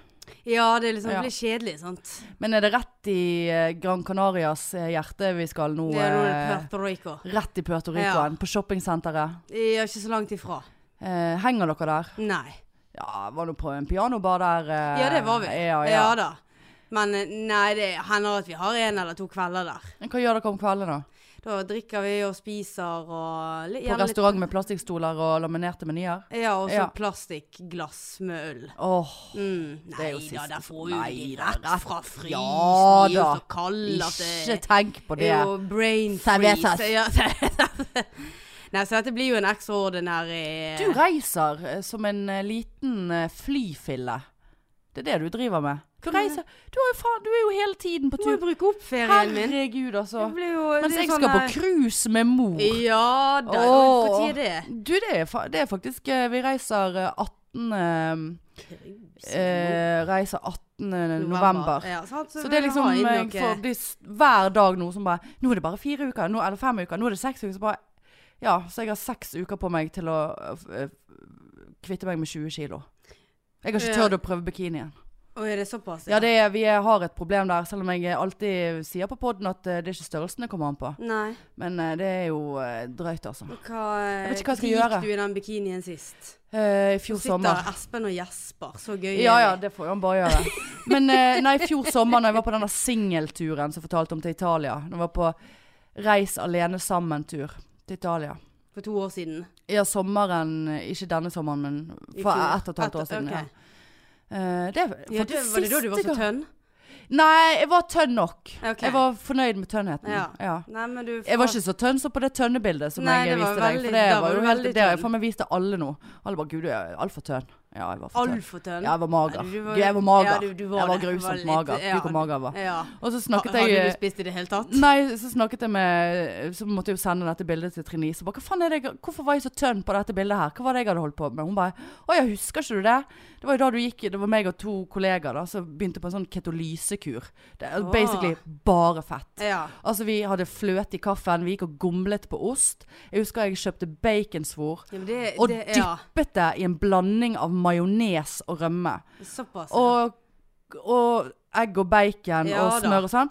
S3: Ja, det er liksom
S4: Ja.
S3: litt kjedelig, sant.
S4: Men er det rett i eh, Gran Canarias eh, hjerte vi skal nå?
S3: Det er noe
S4: eh,
S3: Puerto Rico.
S4: Rett i Puerto Ricoen, på shoppingsenteret.
S3: Jeg er ikke så langt ifra.
S4: Eh, henger dere der?
S3: Nei.
S4: Ja, var du på en pianobar der? eh,
S3: Ja, det var vi.
S4: Ja, ja.
S3: da. Men eh, nei, det hender at vi har en eller to kvelder der.
S4: Men Hva gjør dere om kvelden, da?
S3: Da drikker vi og spiser og litt,
S4: På restaurant med plastikkstoler og laminerte menyer?
S3: Ja, og så
S4: Ja.
S3: plastikkglass med øl.
S4: Åh,
S3: Mm.
S4: Det er
S3: Nei
S4: jo
S3: da,
S4: siste-
S3: der får jo
S4: Nei
S3: de
S4: da,
S3: rett
S4: rett-
S3: fra frysen.
S4: Ja
S3: de er jo
S4: da.
S3: så kalde at
S4: ikke
S3: det
S4: tenk på det.
S3: er jo brain
S4: Cervezas.
S3: freeze. Ja, (laughs) Nei, så dette blir jo en ekstraordinær eh,
S4: Du reiser eh, som en eh, liten eh, flyfille. Det er det du driver med. Du reiser Du er jo, faen, du er jo hele tiden på
S3: Må jo
S4: tur.
S3: bruke opp ferien min.
S4: Herregud, altså.
S3: Det blir jo
S4: Mens
S3: det er
S4: jeg
S3: sånn
S4: skal på
S3: her-
S4: cruise med mor.
S3: Ja da.
S4: Åh.
S3: Når er det?
S4: Du, det er, fa det er faktisk eh, Vi reiser eh, 18 eh, eh, Reiser 18. november.
S3: Ja, sant?
S4: Så det er liksom eh, for, det er s- hver dag nå som bare Nå er det bare fire uker, nå, eller fem uker, nå er det seks uker. Så bare Ja, så jeg har seks uker på meg til å eh, kvitte meg med 20 kilo. Jeg har ikke
S3: Ja.
S4: tørt å prøve bikinien.
S3: Å, er det såpass?
S4: Ja, det er, vi er, har et problem der, selv om jeg alltid sier på poden at eh, det er ikke størrelsen det kommer an på.
S3: Nei.
S4: Men eh, det er jo eh, drøyt, altså.
S3: Og Hva,
S4: Jeg vet ikke hva jeg skal gjøre.
S3: Gikk du i den bikinien sist?
S4: Eh, I
S3: Nå
S4: fjor sommer.
S3: sitter Espen og gjesper. Så gøy. er
S4: Ja ja,
S3: det.
S4: det får han bare gjøre.
S3: (laughs)
S4: Men eh, nei, i fjor sommer når jeg var på denne singelturen som jeg fortalte om til Italia Når jeg var på Reis alene sammen-tur til Italia.
S3: For to år siden.
S4: Ja, sommeren eh, Ikke denne sommeren, men
S3: I
S4: for
S3: fjor.
S4: ett og et halvt år
S3: Et-
S4: siden.
S3: ok.
S4: Ja. Eh, det er
S3: Ja, det,
S4: faktisk
S3: var det da du var så
S4: siste gang-
S3: tønn?
S4: Nei, jeg var tønn nok.
S3: Ok.
S4: Jeg var fornøyd med tønnheten.
S3: Ja.
S4: ja.
S3: Nei, men du
S4: Jeg var ikke så tønn som på det tønnebildet som
S3: Nei,
S4: jeg
S3: det var
S4: viste deg.
S3: veldig-
S4: For det
S3: da
S4: var
S3: var
S4: jo
S3: du
S4: helt,
S3: veldig
S4: det har
S3: tønn.
S4: jeg faen meg vist til alle nå. Alle bare 'Gud, du er altfor tønn'. Ja, jeg var for tønn.
S3: altfor tønn.
S4: Ja, jeg var mager.
S3: Nei, du var-
S4: Gud, jeg var mager.
S3: Ja, du- du var
S4: jeg var
S3: det. Du var
S4: grusomt
S3: litt-
S4: mager.
S3: ja.
S4: Gud, hvor mager jeg var.
S3: Ja.
S4: Og så snakket
S3: Ha- Hadde du
S4: jeg eh,
S3: spist i det hele tatt?
S4: Nei, så snakket jeg med Så måtte jeg jo sende dette bildet til Trine Ise. og bare, Hva faen er det jeg Hvorfor var jeg så tønn på dette bildet her? Hva var det jeg hadde holdt på med? Hun bare Å ja, husker ikke du det? Det var jo da du gikk Det var meg og to kollegaer da som begynte på en sånn ketolysekur. Det er
S3: Åh.
S4: basically bare fett.
S3: Ja.
S4: Altså Vi hadde fløte i kaffen, vi gikk og gomlet på ost. Jeg husker jeg kjøpte baconsvor.
S3: ja men det,
S4: Og
S3: det, ja.
S4: dyppet det i en blanding av majones og rømme.
S3: Såpass. ja.
S4: Og, og egg og bacon
S3: Ja
S4: og
S3: da.
S4: smør og sånn.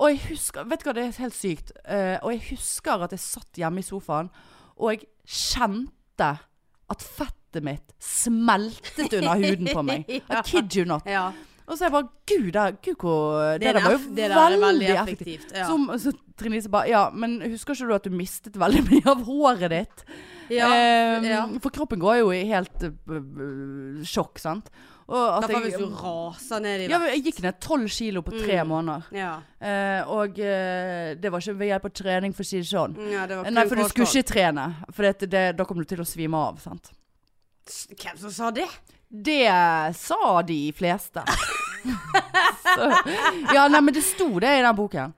S4: Og jeg husker Vet du hva, det er helt sykt. Eh, og jeg husker at jeg satt hjemme i sofaen, og jeg kjente at fettet mitt smeltet under huden på
S3: (laughs)
S4: meg.
S3: Ja.
S4: I kid you not.
S3: ja.
S4: Og så jeg bare Gud, det, Gud hvor, det,
S3: er
S4: der var jo
S3: eff-
S4: veldig,
S3: det der er
S4: effektivt.
S3: Ja.
S4: Som, så Trine Lise bare Ja, men husker ikke du at du mistet veldig mye av håret ditt?
S3: ja.
S4: Ehm,
S3: ja.
S4: For kroppen går jo i helt øh, øh, sjokk, sant? Og at
S3: Derfor hvis
S4: jeg,
S3: du raser ned i
S4: ja,
S3: det.
S4: men jeg gikk ned tolv kilo på tre
S3: Mm.
S4: måneder.
S3: Ja.
S4: Eh, og eh, det var ikke ved hjelp av trening, for å si det sånn.
S3: ja, det var
S4: Nei,
S3: kun
S4: for du skulle
S3: kosthold.
S4: ikke trene. For det, det, da kom du til å svime av, sant?
S3: Hvem som sa det?
S4: Det sa de
S3: (laughs)
S4: fleste. Så, ja, nei, men det sto det i den boken.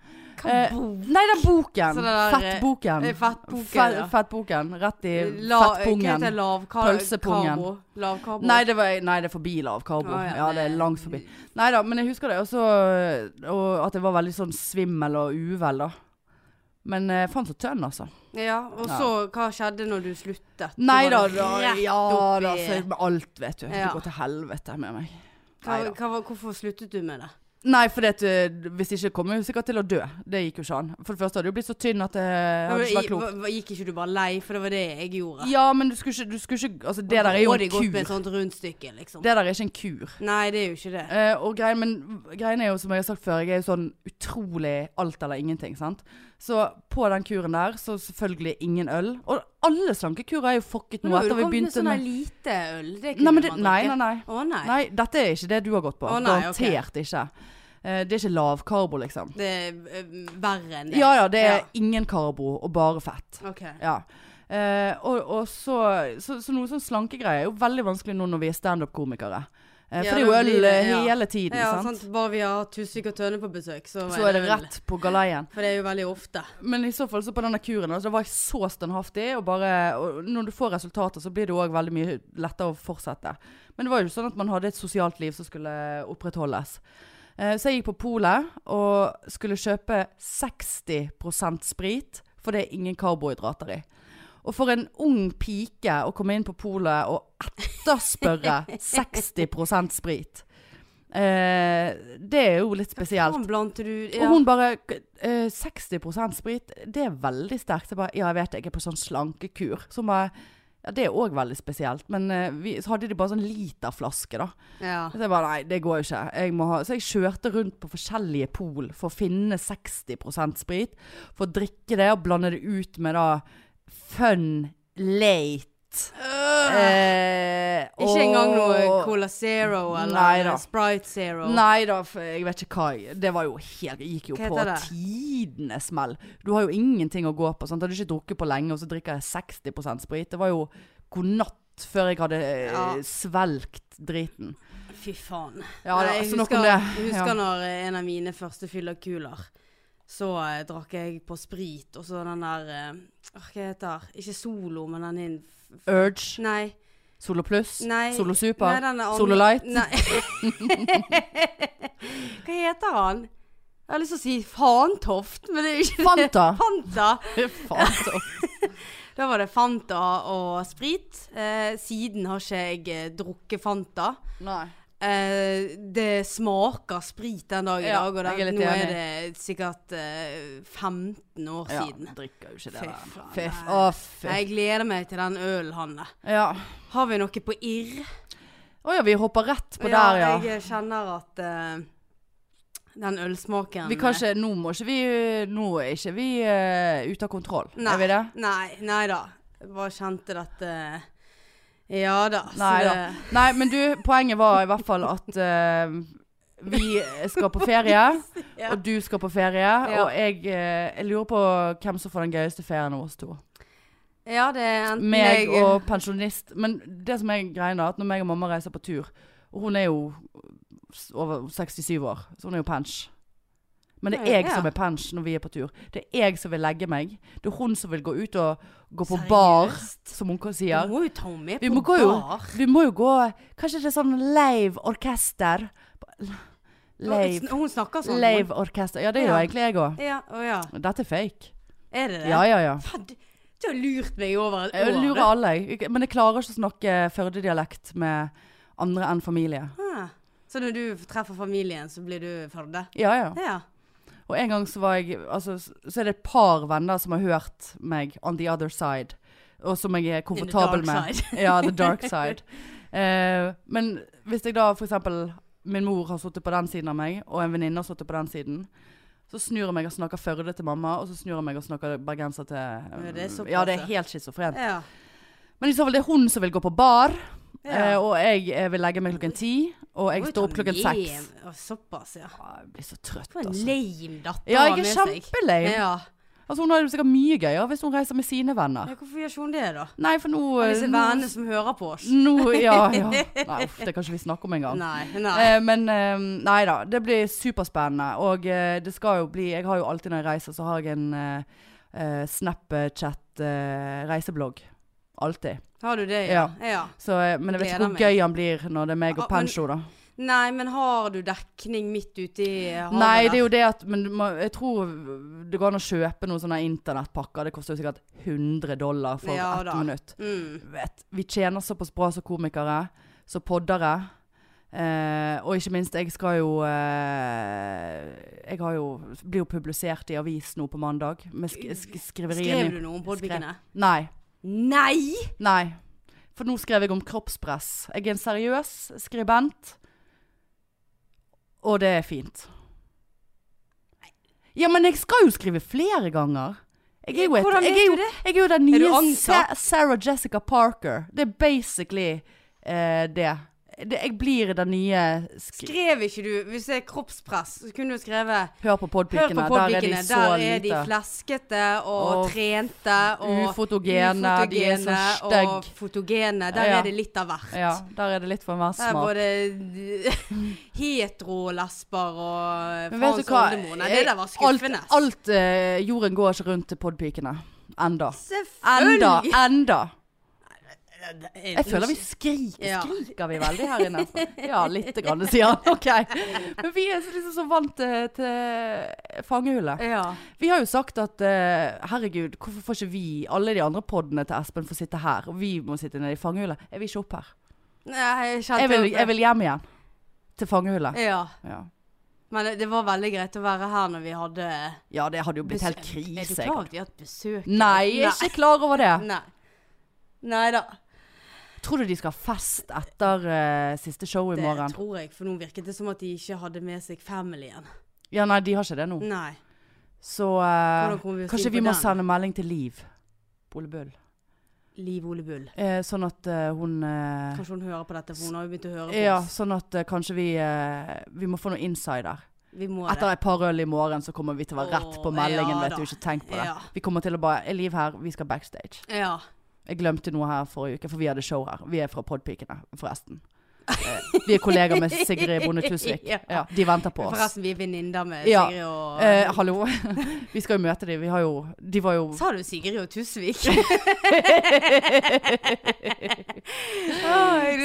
S4: Eh, nei, den boken.
S3: Så det der, eh,
S4: fettboken.
S3: eh, fettboken,
S4: Fe-
S3: ja.
S4: fettboken. Rett i
S3: La, Hva heter det?
S4: fettpungen.
S3: Lavkar-
S4: Pølsepungen.
S3: karbo? Lavkarbo?
S4: Nei det, var, nei, det er forbi lav karbo.
S3: Å, ja,
S4: ja, det er
S3: nei.
S4: langt forbi. Nei da, men jeg husker det. Og så og at jeg var veldig sånn svimmel og uvel, da. Men eh, faen så tønn, altså.
S3: Ja, og så hva skjedde når du sluttet? Så
S4: Nei da,
S3: var det
S4: da.
S3: rett
S4: Ja
S3: opp
S4: da.
S3: i-
S4: Så med alt, vet du.
S3: Ja.
S4: Det går til helvete med meg.
S3: hva,
S4: Neida.
S3: hva, var- Hvorfor sluttet du med det?
S4: Nei, for det, at, eh, hvis ikke kommer jeg jo sikkert til å dø. Det gikk jo ikke an. For det første hadde jeg jo blitt så tynn at det hadde ikke vært klokt.
S3: Hva- hva- Gikk ikke du bare lei, for det var det jeg gjorde?
S4: Ja, men du skulle ikke, du skulle ikke Altså, det der er jo
S3: Og
S4: en
S3: det gått med et
S4: kur.
S3: sånt rundstykke, liksom.
S4: Det der er ikke en kur.
S3: Nei, det er jo ikke det.
S4: Eh, og greien, men greien er jo, som jeg har sagt før, jeg er jo sånn utrolig alt eller ingenting, sant. Så på den kuren der, så selvfølgelig ingen øl. Og alle slankekurer er jo fucket nå etter vi begynte
S3: sånn
S4: med
S3: lite øl. Det
S4: Nei,
S3: kunne
S4: men det,
S3: man
S4: nei,
S3: drikke.
S4: nei, nei.
S3: Å nei.
S4: Nei, dette er ikke det du har gått på.
S3: Å, nei, ok.
S4: Garantert ikke. Eh, det er ikke lav karbo, liksom.
S3: Det er eh, verre enn det.
S4: Ja ja, det er
S3: Ja.
S4: ingen karbo og bare fett.
S3: Ok.
S4: Ja. Eh, og, og så, så, så noe sånn slankegreier er jo veldig vanskelig nå når vi er standup-komikere. Eh,
S3: Ja,
S4: for det er jo
S3: da blir
S4: øl
S3: det-
S4: eh,
S3: ja.
S4: hele tiden,
S3: Ja,
S4: sant?
S3: sant. Bare vi har Tusvik og Tønne på besøk, så,
S4: Så er det
S3: øl.
S4: rett på galeien.
S3: For det er jo veldig ofte.
S4: Men i så fall så på denne kuren altså, da var jeg så standhaftig, og bare og Når du får resultater, så blir det òg veldig mye lettere å fortsette. Men det var jo sånn at man hadde et sosialt liv som skulle opprettholdes. Eh, Så jeg gikk på polet og skulle kjøpe 60 sprit, for det er ingen karbohydrater i. Og for en ung pike å komme inn på polet og (laughs) etterspørre 60 sprit, eh, det er jo litt spesielt.
S3: Hvordan blandte du
S4: Og hun bare eh, 60 sprit, det er veldig sterkt. Jeg bare Ja, jeg vet jeg er på sånn slankekur. Så hun bare Ja, det er òg veldig spesielt. Men eh, vi, så hadde de bare sånn literflaske, da.
S3: Ja.
S4: Så jeg bare nei, det går jo ikke. Jeg må ha. Så jeg kjørte rundt på forskjellige pol for å finne 60 sprit. For å drikke det og blande det ut med da fun late. Eh,
S3: Øh. Ikke engang noe
S4: og-
S3: Cola Zero
S4: Nei
S3: eller
S4: da.
S3: Sprite Zero.
S4: Nei da, for jeg vet ikke hva jeg- Det var jo helt jeg Gikk jo
S3: Hva
S4: på
S3: heter det?
S4: tidenes smell. Du har jo ingenting å gå på. Sant? Hadde ikke drukket på lenge, og så drikker jeg 60 sprit. Det var jo god natt før jeg hadde eh,
S3: Ja.
S4: svelgt driten.
S3: Fy faen.
S4: Ja,
S3: Nei,
S4: da,
S3: jeg
S4: så nok
S3: husker,
S4: om det.
S3: jeg
S4: Ja.
S3: husker når eh, en av mine første fyllerkuler Så eh, drakk jeg på sprit, og så den der eh, åh, Hva heter Ikke Solo, men den inn...
S4: Urge,
S3: Nei.
S4: Solo Pluss,
S3: Nei.
S4: Solo
S3: nei
S4: Super,
S3: den er
S4: Solo Light.
S3: Nei. (laughs) hva heter han? Jeg har lyst til å si Fantoft, men det er ikke det.
S4: (laughs) Fanta.
S3: (laughs) Fanta.
S4: (laughs) Fanta.
S3: Da var det Fanta og sprit. Eh, siden har ikke jeg eh, drukket Fanta.
S4: Nei.
S3: Eh, det smaker sprit den dag i
S4: Ja,
S3: dag, og
S4: jeg er
S3: det,
S4: litt
S3: nå er
S4: enig.
S3: det sikkert eh, 15 år
S4: Ja,
S3: siden.
S4: drikker jo ikke det.
S3: Fy
S4: der.
S3: faen,
S4: Fiff.
S3: nei.
S4: Å,
S3: Nei,
S4: fiff.
S3: Jeg gleder meg til den ølen, Hanne.
S4: Ja.
S3: Har vi noe på irr?
S4: Å ja, vi hopper rett på der, ja.
S3: Jeg kjenner at eh, den ølsmaken
S4: Vi kan ikke, nå må ikke vi Nå er ikke vi eh, ute av kontroll.
S3: Nei.
S4: Er vi det?
S3: Nei, nei da. Jeg bare kjente dette Ja da. så
S4: Nei da.
S3: det-
S4: Nei, men du, poenget var i hvert fall at eh, vi skal på ferie,
S3: (laughs) Ja.
S4: og du skal på ferie.
S3: Ja.
S4: Og jeg, eh, jeg lurer på hvem som får den gøyeste ferien av oss to.
S3: Ja, det er enten
S4: Meg
S3: jeg
S4: og pensjonist. Men det som er greia, da, at når meg og mamma reiser på tur Og hun er jo s- over 67 år, så hun er jo pensj. Men det er jeg
S3: Ja.
S4: som er pensj når vi er på tur. Det er jeg som vil legge meg. Det er hun som vil gå ut og gå på
S3: Seriøst?
S4: bar, som hun sier.
S3: Du må jo ta henne med
S4: Vi
S3: på
S4: må gå jo
S3: bar.
S4: Vi må jo gå Kanskje det er sånn live orkester? Live,
S3: Hun snakker sånn.
S4: live orkester. Ja, det er jo
S3: Ja.
S4: egentlig jeg òg.
S3: Ja, å ja.
S4: Dette er fake.
S3: Er det det?
S4: Ja, ja, ja.
S3: Faen, du, du har lurt meg over et
S4: Jeg
S3: år.
S4: lurer alle, jeg. Men jeg klarer ikke å snakke Førde-dialekt med andre enn familie.
S3: Ah, Så når du treffer familien, så blir du Førde?
S4: Ja, ja.
S3: Ja.
S4: Og en gang så var jeg altså, s- Så er det et par venner som har hørt meg on the other side. Og som jeg er komfortabel
S3: dark
S4: med. (laughs) ja, the
S3: (laughs)
S4: dark side. Eh, men hvis jeg da f.eks. Min mor har sittet på den siden av meg, og en venninne har sittet på den siden. Så snur jeg meg og snakker Førde til mamma, og så snur jeg meg og snakker bergenser til eh,
S3: Ja, det er såpass,
S4: Ja, det er
S3: ja.
S4: helt schizofrent.
S3: ja.
S4: Men i så fall det er hun som vil gå på bar, eh,
S3: ja.
S4: og jeg eh, vil legge meg klokken ti. Og jeg
S3: Oi,
S4: står opp
S3: ta
S4: klokken seks.
S3: lame. Å, Såpass, ja.
S4: Ja, Jeg blir så trøtt,
S3: For en
S4: altså.
S3: lame datter
S4: Ja,
S3: å ha
S4: jeg
S3: med
S4: er
S3: seg.
S4: kjempelei.
S3: Ja.
S4: Altså Hun har det sikkert mye gøyere hvis hun reiser med sine
S3: ja,
S4: venner.
S3: hvorfor gjør ikke hun det, da?
S4: Nei, for nå eh,
S3: Av disse
S4: nå-
S3: vennene som hører på oss.
S4: Nå, ja, ja. Nei, uff, det kan ikke vi snakke om engang.
S3: Nei, nei.
S4: Eh, men eh, nei da, det blir superspennende. Og eh, det skal jo bli Jeg har jo alltid når jeg reiser, så har jeg en eh, eh, Snapchat-reiseblogg. Alltid.
S3: Har du det, ja? ja.
S4: Så, eh, men jeg vet ikke
S3: Gleder
S4: hvor
S3: meg.
S4: gøy han blir når det er meg og
S3: Ah, men-
S4: Pensjo, da.
S3: Nei, men har du dekning midt ute i havet?
S4: Nei, det er jo det at Men du må- jeg tror det går an å kjøpe noen sånne internettpakker. Det koster jo sikkert 100 dollar for
S3: Ja
S4: ett
S3: da.
S4: minutt.
S3: mm.
S4: vet, vi tjener såpass bra som komikere, som poddere. Eh, og ikke minst, jeg skal jo eh, Jeg har jo, blir jo publisert i avis nå på mandag. Med sk sk skriverien
S3: Skrev
S4: min.
S3: du noe om podpikene?
S4: Nei.
S3: Nei!
S4: Nei. For nå skrev jeg om kroppspress. Jeg er en seriøs skribent. Og det er fint. Ja, men jeg skal jo skrive flere ganger. Jeg er jo, et,
S3: Hvordan
S4: jeg
S3: vet
S4: er
S3: du
S4: jo,
S3: det?
S4: Jeg er jo den
S3: Er du
S4: nye Sa
S3: ansatt?
S4: Sarah Jessica Parker. Det er basically eh, det. det. Jeg blir den nye skri
S3: Skrev ikke du Hvis det er kroppspress, så kunne du skrevet
S4: Hør
S3: Hør
S4: på
S3: på
S4: podpikene. Der er de
S3: podpikene.
S4: så
S3: Der er de
S4: lite.
S3: fleskete og,
S4: Og
S3: trente og
S4: ufotogene, de er så
S3: ufotogene
S4: stygg.
S3: Og fotogene. Der
S4: Ja.
S3: er det litt av hvert.
S4: Ja, der er det litt for enhver
S3: Der er
S4: smak.
S3: både (laughs) heterolesber og
S4: Men vet
S3: faens
S4: du hva?
S3: oldemor. Nei, det der var skuffende.
S4: Alt, alt eh, jorden går ikke rundt til podpikene. Enda. Enda.
S3: Selvfølgelig!
S4: Enda.
S3: Jeg
S4: Jeg føler vi skriker.
S3: Ja.
S4: Skriker vi veldig her inne? altså? Ja, lite grann, sier han. Ok. Men vi er liksom så vant til, til fangehullet.
S3: ja.
S4: Vi har jo sagt at eh, herregud, hvorfor får ikke vi alle de andre podene til Espen får sitte her, og vi må sitte nede i fangehullet? Jeg vil ikke opp her.
S3: Nei, jeg kjente
S4: Jeg vil, jeg vil hjem igjen. Til fangehullet.
S3: Ja.
S4: Ja.
S3: Men det- det var veldig greit å være her når vi hadde
S4: ja, det hadde jo blitt helt
S3: Er du
S4: krise.
S3: klar over at vi har hatt besøk?
S4: Nei, jeg er ikke klar over det.
S3: Nei. Nei da.
S4: Tror du de skal ha fest etter eh, siste show i
S3: Det
S4: morgen?
S3: tror jeg, for nå virket det som at de ikke hadde med seg familien.
S4: Ja, nei, de har ikke det nå.
S3: Nei.
S4: Så eh,
S3: Hvordan kommer vi oss
S4: Oh. kanskje
S3: inn
S4: vi
S3: på
S4: må
S3: den?
S4: sende melding til Liv Ole Bull.
S3: Liv Ole Bull.
S4: Eh, sånn at eh, hun eh,
S3: Kanskje hun hører på dette, for hun har jo begynt å høre på
S4: Ja,
S3: oss.
S4: sånn at eh, kanskje vi eh, Vi må få noe insider.
S3: Vi må
S4: Etter et par øl i morgen så kommer vi til å være rett på
S3: Åh,
S4: meldingen,
S3: ja
S4: vet
S3: da.
S4: du. Ikke tenk på det.
S3: Ja.
S4: Vi kommer til å bare Er Liv her? Vi skal backstage.
S3: det. Ja.
S4: Jeg glemte noe her forrige uke, for vi hadde show her. Vi er fra Podpikene, forresten. Eh, vi er kollegaer med Sigrid Bonde Tusvik.
S3: (laughs) Ja.
S4: Ja, de venter på oss.
S3: Forresten, vi er venninner med
S4: Ja.
S3: Sigrid og
S4: Eh, hallo. (laughs) Vi skal jo møte dem. Vi har jo De var jo
S3: Sa du Sigrid og
S4: (laughs)
S3: Tusvik?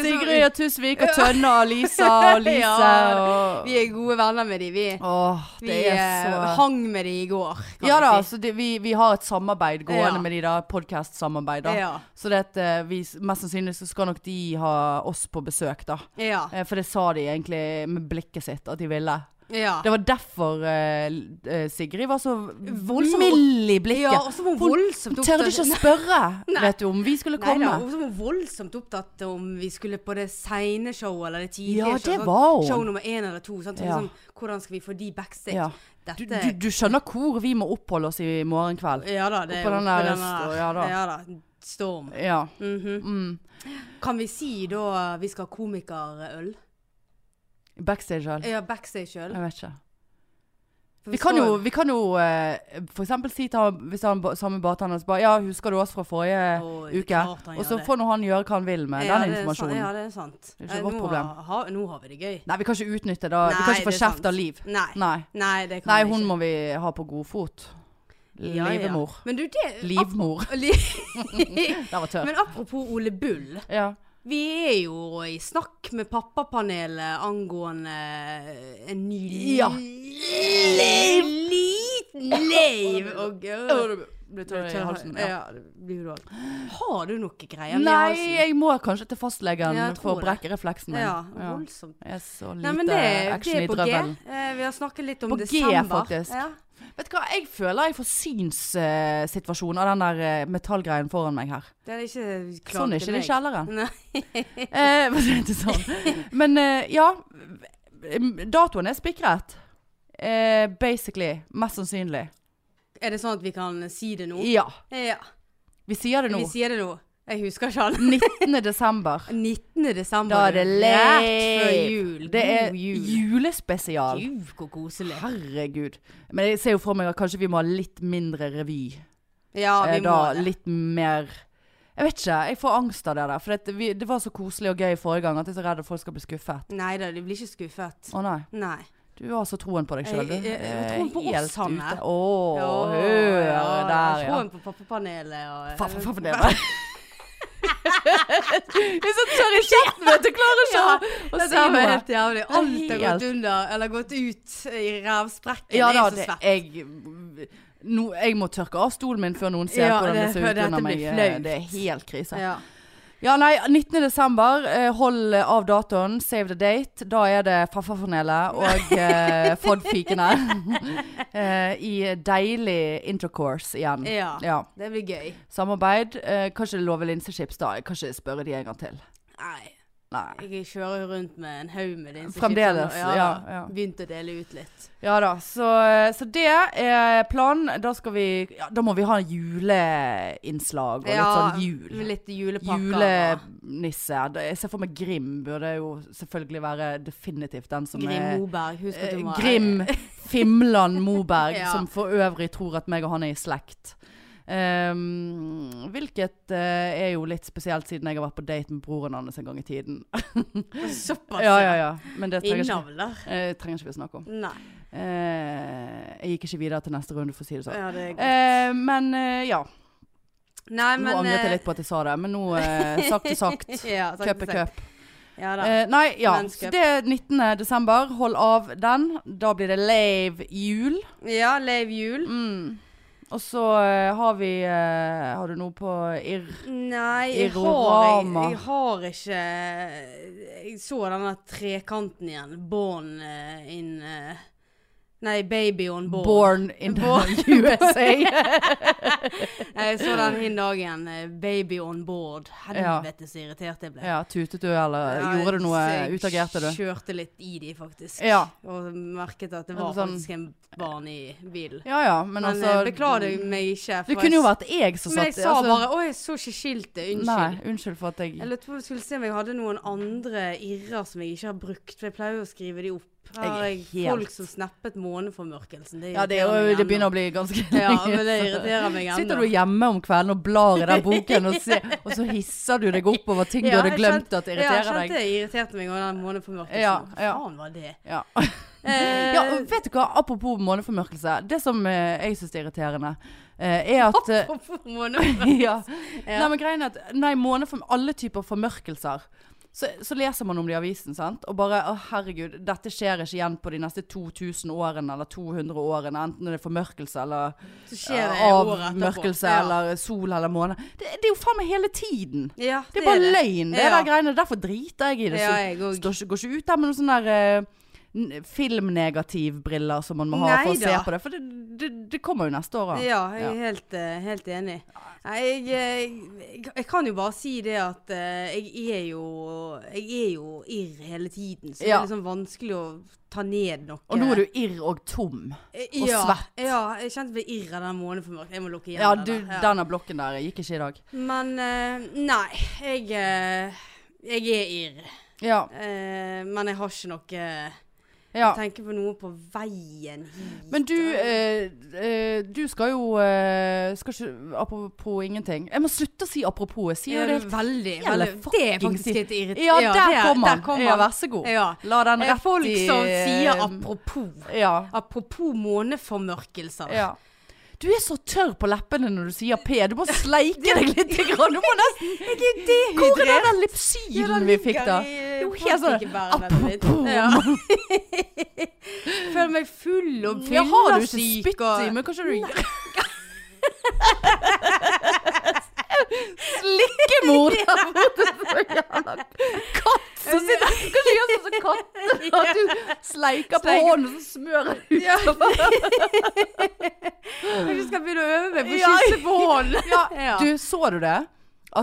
S4: Sigrid og Tusvik og Tønne og
S3: (laughs)
S4: Lisa og Lise
S3: Ja.
S4: og
S3: Vi er gode venner med de, vi.
S4: Åh,
S3: Vi
S4: det er
S3: eh,
S4: så
S3: hang med de i går, kan
S4: Ja da,
S3: vi si.
S4: så det, vi, vi har et samarbeid gående
S3: Ja.
S4: med de da, podcast-samarbeid da.
S3: Ja.
S4: Så det at eh, vi, s- mest sannsynlig så skal nok de ha oss på besøk da.
S3: Ja.
S4: Eh, For det sa de egentlig med blikket sitt at de ville.
S3: ja.
S4: Det var derfor eh, l- eh, Sigrid var så
S3: Voldsom-
S4: mild i blikket.
S3: Ja, og så var hun voldsomt
S4: Hun tørde ikke å spørre,
S3: (laughs)
S4: vet du, om vi skulle
S3: Nei
S4: komme.
S3: da, hun var voldsomt opptatt om vi skulle på det seine showet eller det tidlige
S4: Ja,
S3: showet,
S4: det
S3: sånn,
S4: var hun.
S3: Show nummer én eller to. Sant?
S4: Ja.
S3: Sånn, hvordan skal vi få de backstage?
S4: Ja. Du,
S3: Dette
S4: du, du skjønner hvor vi må oppholde oss i morgen kveld.
S3: Ja da, det er
S4: Oppå den
S3: oppe
S4: der
S3: den der-
S4: sto- ja da.
S3: Storm.
S4: Ja.
S3: Mhm.
S4: Mm.
S3: Kan vi si da vi skal ha komikerøl?
S4: Backstage selv.
S3: Ja, backstage-øl.
S4: Jeg vet ikke.
S3: For
S4: Vi kan
S3: skal-
S4: jo, vi kan jo eh, for eksempel si til han, hvis han ba- samme bartender så bare, ja, husker du oss fra forrige
S3: Oi, det er
S4: uke?
S3: klart han
S4: Og
S3: gjør
S4: så
S3: det.
S4: får nå han gjøre hva han vil med
S3: Ja, det
S4: den
S3: er sant-
S4: informasjonen.
S3: Ja, det er sant.
S4: Det er ikke
S3: Nei,
S4: vårt
S3: nå
S4: problem.
S3: har- har- nå har vi det gøy.
S4: Nei, vi kan ikke utnytte det. vi kan
S3: Nei,
S4: ikke
S3: det
S4: få
S3: er
S4: kjeft av
S3: sant.
S4: Liv.
S3: Nei.
S4: Nei.
S3: Nei, det kan
S4: Nei,
S3: vi
S4: hun
S3: ikke.
S4: må vi ha på god fot.
S3: Ja, ja.
S4: Livemor.
S3: Men du, det (laughs)
S4: Livmor.
S3: Li- (laughs)
S4: Det var tørt.
S3: Men apropos Ole Bull.
S4: Ja.
S3: Vi er jo i snakk med pappapanelet angående en ny
S4: Ja.
S3: liten
S4: (laughs)
S3: leiv og
S4: Blir
S3: Tørr i halsen, Ja, det blir du også. Har du noe greier med
S4: Nei,
S3: halsen?
S4: jeg må kanskje til fastlegen
S3: Ja, jeg tror
S4: for å
S3: det.
S4: brekke refleksen min.
S3: Ja,
S4: Ja.
S3: voldsomt.
S4: Jeg er så lite
S3: Nei, men det, det
S4: action
S3: er
S4: i
S3: på G.
S4: drøvelen.
S3: Eh, Vi har snakket litt om
S4: På G,
S3: desember.
S4: faktisk.
S3: Ja.
S4: Vet du hva, jeg føler jeg får synssituasjonen av den der eh, metallgreien foran meg her.
S3: Det er ikke klart
S4: Sånn er ikke det i kjelleren.
S3: Nei.
S4: (laughs) Eh, for å si det sånn. Men eh, ja, m- datoen er spikret. Eh, basically, mest sannsynlig.
S3: Er det sånn at vi kan si det nå?
S4: Ja,
S3: Ja.
S4: vi sier det nå.
S3: Vi sier det nå. Jeg husker ikke alle.
S4: 19. desember.
S3: 19. desember.
S4: Da er det
S3: du. Rett før
S4: late.
S3: jul.
S4: Det er
S3: God jul.
S4: julespesial.
S3: Gud, hvor koselig.
S4: Herregud. Men jeg ser jo for meg at kanskje vi må ha litt mindre revy.
S3: Ja, vi
S4: eh,
S3: må
S4: da
S3: det.
S4: litt mer Jeg vet ikke, jeg får angst av det der. For det, vi, det var så koselig og gøy forrige gang at jeg er så redd at folk skal bli skuffet.
S3: Nei da, du blir ikke skuffet.
S4: Å nei.
S3: Nei.
S4: Du har så troen på deg sjøl, du.
S3: Jeg- jeg- jeg har troen på
S4: Eh,
S3: oss, Hanne.
S4: ute. Å, hør
S3: ja,
S4: der, ja.
S3: Troen på pappapanelet og
S4: Faff, faff, det
S3: (laughs)
S4: var Du er så tørr i kjeften, vet du. Klarer ikke å- å
S3: Det
S4: si
S3: er jo
S4: noe.
S3: helt jævlig. Alt har
S4: Helt.
S3: gått under, eller gått ut i rævsprekken.
S4: Ja
S3: Jeg
S4: da,
S3: er så
S4: det,
S3: svett.
S4: jeg nå, Jeg må tørke av stolen min før noen ser
S3: Ja,
S4: hvordan det
S3: det-
S4: ser
S3: for
S4: ut
S3: dette
S4: under meg.
S3: blir flaut.
S4: Det er helt krise.
S3: Ja.
S4: Ja, nei, 19. desember. eh, Hold av datoen. Save the date. Da er det
S3: (laughs)
S4: Faffapanelet og eh, Fodfikene (laughs) eh, i deilig intercourse igjen.
S3: Ja. Det blir gøy.
S4: Samarbeid. Eh, kanskje love linsechips, da. Jeg kan ikke spørre de en gang til.
S3: Nei.
S4: Nei.
S3: Jeg kjører jo rundt med en haug med din.
S4: Fremdeles, ja, ja.
S3: Begynt å dele ut litt.
S4: Ja da. Så, så det er planen. Da skal vi ja, Da må vi ha juleinnnslag og litt sånn jul.
S3: med Litt julepakker. og-
S4: Julenisse. Det- Jeg ser for meg Grim burde jo selvfølgelig være definitivt den som
S3: Grim
S4: er
S3: Moberg. Husk at
S4: Eh,
S3: du må
S4: Grim Fimland
S3: (laughs)
S4: Moberg,
S3: Ja.
S4: som for øvrig tror at meg og han er i slekt. Ehm, hvilket eh, er jo litt spesielt, siden jeg har vært på date med broren hans en gang i tiden. (laughs)
S3: Såpass.
S4: Ja, ja, ja. Men det trenger ikke,
S3: Innavler.
S4: eh, trenger ikke vi å snakke om.
S3: Nei.
S4: Eh, jeg gikk ikke videre til neste runde, for å si det sånn.
S3: Ja, det er godt.
S4: Eh, men eh, ja.
S3: Nei,
S4: Nå angret
S3: eh,
S4: jeg litt på at jeg sa det, men nå eh, sagt er sagt.
S3: Ja, (laughs) sagt
S4: Cup
S3: og
S4: er
S3: sagt.
S4: cup.
S3: Ja da.
S4: Eh, nei, ja.
S3: Men's
S4: Så
S3: cup.
S4: det er 19. desember. Hold av den. Da blir det lave jul.
S3: Ja, Leiv Jul.
S4: Mm. Og så eh, har vi eh, Har du noe på irr?
S3: Nei, jeg har, jeg,
S4: Irorama.
S3: jeg har ikke Jeg så denne trekanten igjen. Born eh, in eh, Nei, Baby on board. (laughs)
S4: Born in the USA.
S3: Nei, (laughs) Jeg så den hin dagen. eh, Baby on board. Helvete så irritert jeg ble.
S4: (laughs) Ja, tutet du, eller gjorde du noe?
S3: Ja, så
S4: Utagerte du?
S3: Jeg kjørte litt i de, faktisk.
S4: Ja.
S3: Og merket at det
S4: Det
S3: var
S4: var sånn-
S3: faktisk en barn i bilen.
S4: Ja ja, men,
S3: Men,
S4: altså
S3: jeg beklager meg ikke.
S4: Det
S3: for
S4: kunne jo
S3: jeg-
S4: vært jeg som
S3: Men jeg
S4: satt
S3: sa
S4: altså-
S3: bare 'Å, jeg så ikke skiltet. Unnskyld'.
S4: Nei, unnskyld for at jeg
S3: Jeg lurte på om du skulle se om jeg hadde noen andre irrer som jeg ikke har brukt. For jeg pleier jo å skrive de opp. Her har
S4: Jeg er
S3: jeg
S4: helt-
S3: folk som snappet måneformørkelsen. Det
S4: Ja, det, er
S3: irriterer
S4: jo,
S3: meg
S4: det begynner
S3: ennå.
S4: å bli ganske
S3: Ja,
S4: (laughs)
S3: men det irriterer meg ennå.
S4: Sitter du hjemme om kvelden og blar i den boken, og,
S3: (laughs)
S4: ser, og så hisser du deg opp over ting du hadde glemt at
S3: Ja,
S4: irriterer
S3: jeg
S4: deg?
S3: kjente det irriterte meg over den måneformørkelsen.
S4: Ja,
S3: Hva
S4: ja.
S3: faen var det?
S4: Ja. (laughs)
S3: Eh,
S4: ja, og vet du hva, apropos måneformørkelse. Det som eh, jeg syns er irriterende, eh, er at eh,
S3: Apropos måneformørkelse.
S4: (laughs) ja.
S3: (laughs)
S4: Nei, men greien er at Nei, måneform, alle typer formørkelser så, så leser man om det i avisen, sant? Og bare Å, herregud, dette skjer ikke igjen på de neste 2000 årene eller 200 årene. Enten det er formørkelse eller eh,
S3: Så skjer det året etterpå.
S4: avmørkelse
S3: Ja.
S4: eller sol eller måne. Det, det er jo faen meg hele tiden.
S3: Ja,
S4: Det er bare løgn, det
S3: Ja.
S4: der greiene. Derfor driter jeg i det.
S3: Ja,
S4: Så-
S3: jeg òg.
S4: står ikke, går ikke ut der med noen sånne der, eh, n- filmnegativbriller som man må ha for å
S3: Neida.
S4: se på det. For det, det, det kommer jo neste år. da.
S3: Ja, jeg er helt, eh, helt enig. Nei, Jeg, eh, jeg, jeg kan jo bare si det at eh, jeg er jo Jeg er jo irr hele tiden, så det
S4: Ja.
S3: er liksom vanskelig å ta ned noe.
S4: Og nå er du irr og tom.
S3: og
S4: svett.
S3: Ja, jeg kjente meg irr av den måneformørkelsen. Jeg må lukke igjen
S4: Ja,
S3: den
S4: du,
S3: der. Ja.
S4: denne blokken der gikk ikke i dag.
S3: Men eh, nei, jeg, eh, jeg er irr.
S4: Ja.
S3: Eh, men jeg har ikke noe
S4: ja.
S3: Jeg tenker på noe på veien hit.
S4: Men du, eh, eh, du skal jo eh, skal ikke, Apropos ingenting. Jeg må slutte å si apropos. Jeg sier
S3: Ja,
S4: jo
S3: det
S4: det
S3: er
S4: helt
S3: veldig, veldig
S4: Jævla
S3: Det er
S4: fucking
S3: faktisk
S4: si-
S3: litt irriterende.
S4: Ja, der kom han.
S3: Der kom
S4: Ja,
S3: han.
S4: vær så god.
S3: Ja.
S4: La den
S3: Eh,
S4: rett i
S3: Folk som sier
S4: eh,
S3: apropos.
S4: Ja.
S3: Apropos måneformørkelser. (laughs)
S4: ja. Du er så tørr på leppene når du sier P. (laughs) Du må sleike deg litt. Grann. Du må nesten Hvor er den der
S3: Ja,
S4: lipsylen
S3: den
S4: vi fikk,
S3: ligger
S4: da?
S3: i eh,
S4: Jo, helt sånn,
S3: politikebærene mitt.
S4: apropos.
S3: Ja. Føler meg full og
S4: Ja, har du ikke
S3: fyllesyk
S4: spytt
S3: og-
S4: i, men kanskje du (laughs) Slikkemor! (laughs) der borte, så jævla Katt som sitter Kanskje gjør sånn som katter, at du sleiker på
S3: Sleiker.
S4: hånden og så smører ut.
S3: Ja. (laughs) Kanskje jeg skal begynne å øve meg på å
S4: Ja.
S3: kysse på hånden.
S4: (laughs) Ja. Du, så du det?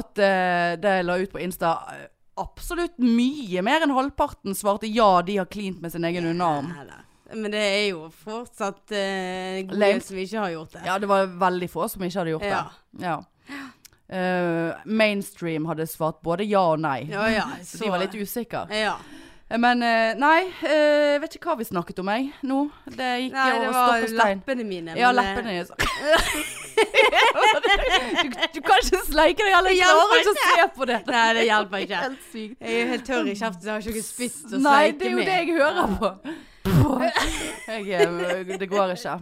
S4: At eh, det jeg la ut på Insta eh, Absolutt mye mer enn halvparten svarte ja, de har klint med sin egen underarm.
S3: Nei da. Men det er jo fortsatt eh, gode
S4: Lame.
S3: som ikke har gjort det.
S4: Ja, det var veldig få som ikke hadde gjort
S3: Ja.
S4: det. Ja. Eh, mainstream hadde svart både ja og nei.
S3: Ja, ja,
S4: (laughs) Så de var litt usikre.
S3: Ja.
S4: Men eh, nei, eh, jeg vet ikke hva vi snakket om, jeg, nå. Det gikk
S3: Nei, det
S4: over
S3: var
S4: stokk og stein.
S3: leppene mine.
S4: Ja,
S3: men, eh,
S4: leppene dine. sånn. (laughs) du, du kan ikke sleike deg, eller
S3: Det
S4: jeg klarer
S3: hjelper
S4: ikke å se på det.
S3: (laughs) Nei, det hjelper ikke.
S4: Helt sykt.
S3: Jeg er helt tørr i kjeften, så jeg har ikke noe spytt å
S4: Nei,
S3: sleike
S4: det er jo
S3: med.
S4: det jeg hører på. Jeg, eh, det går ikke.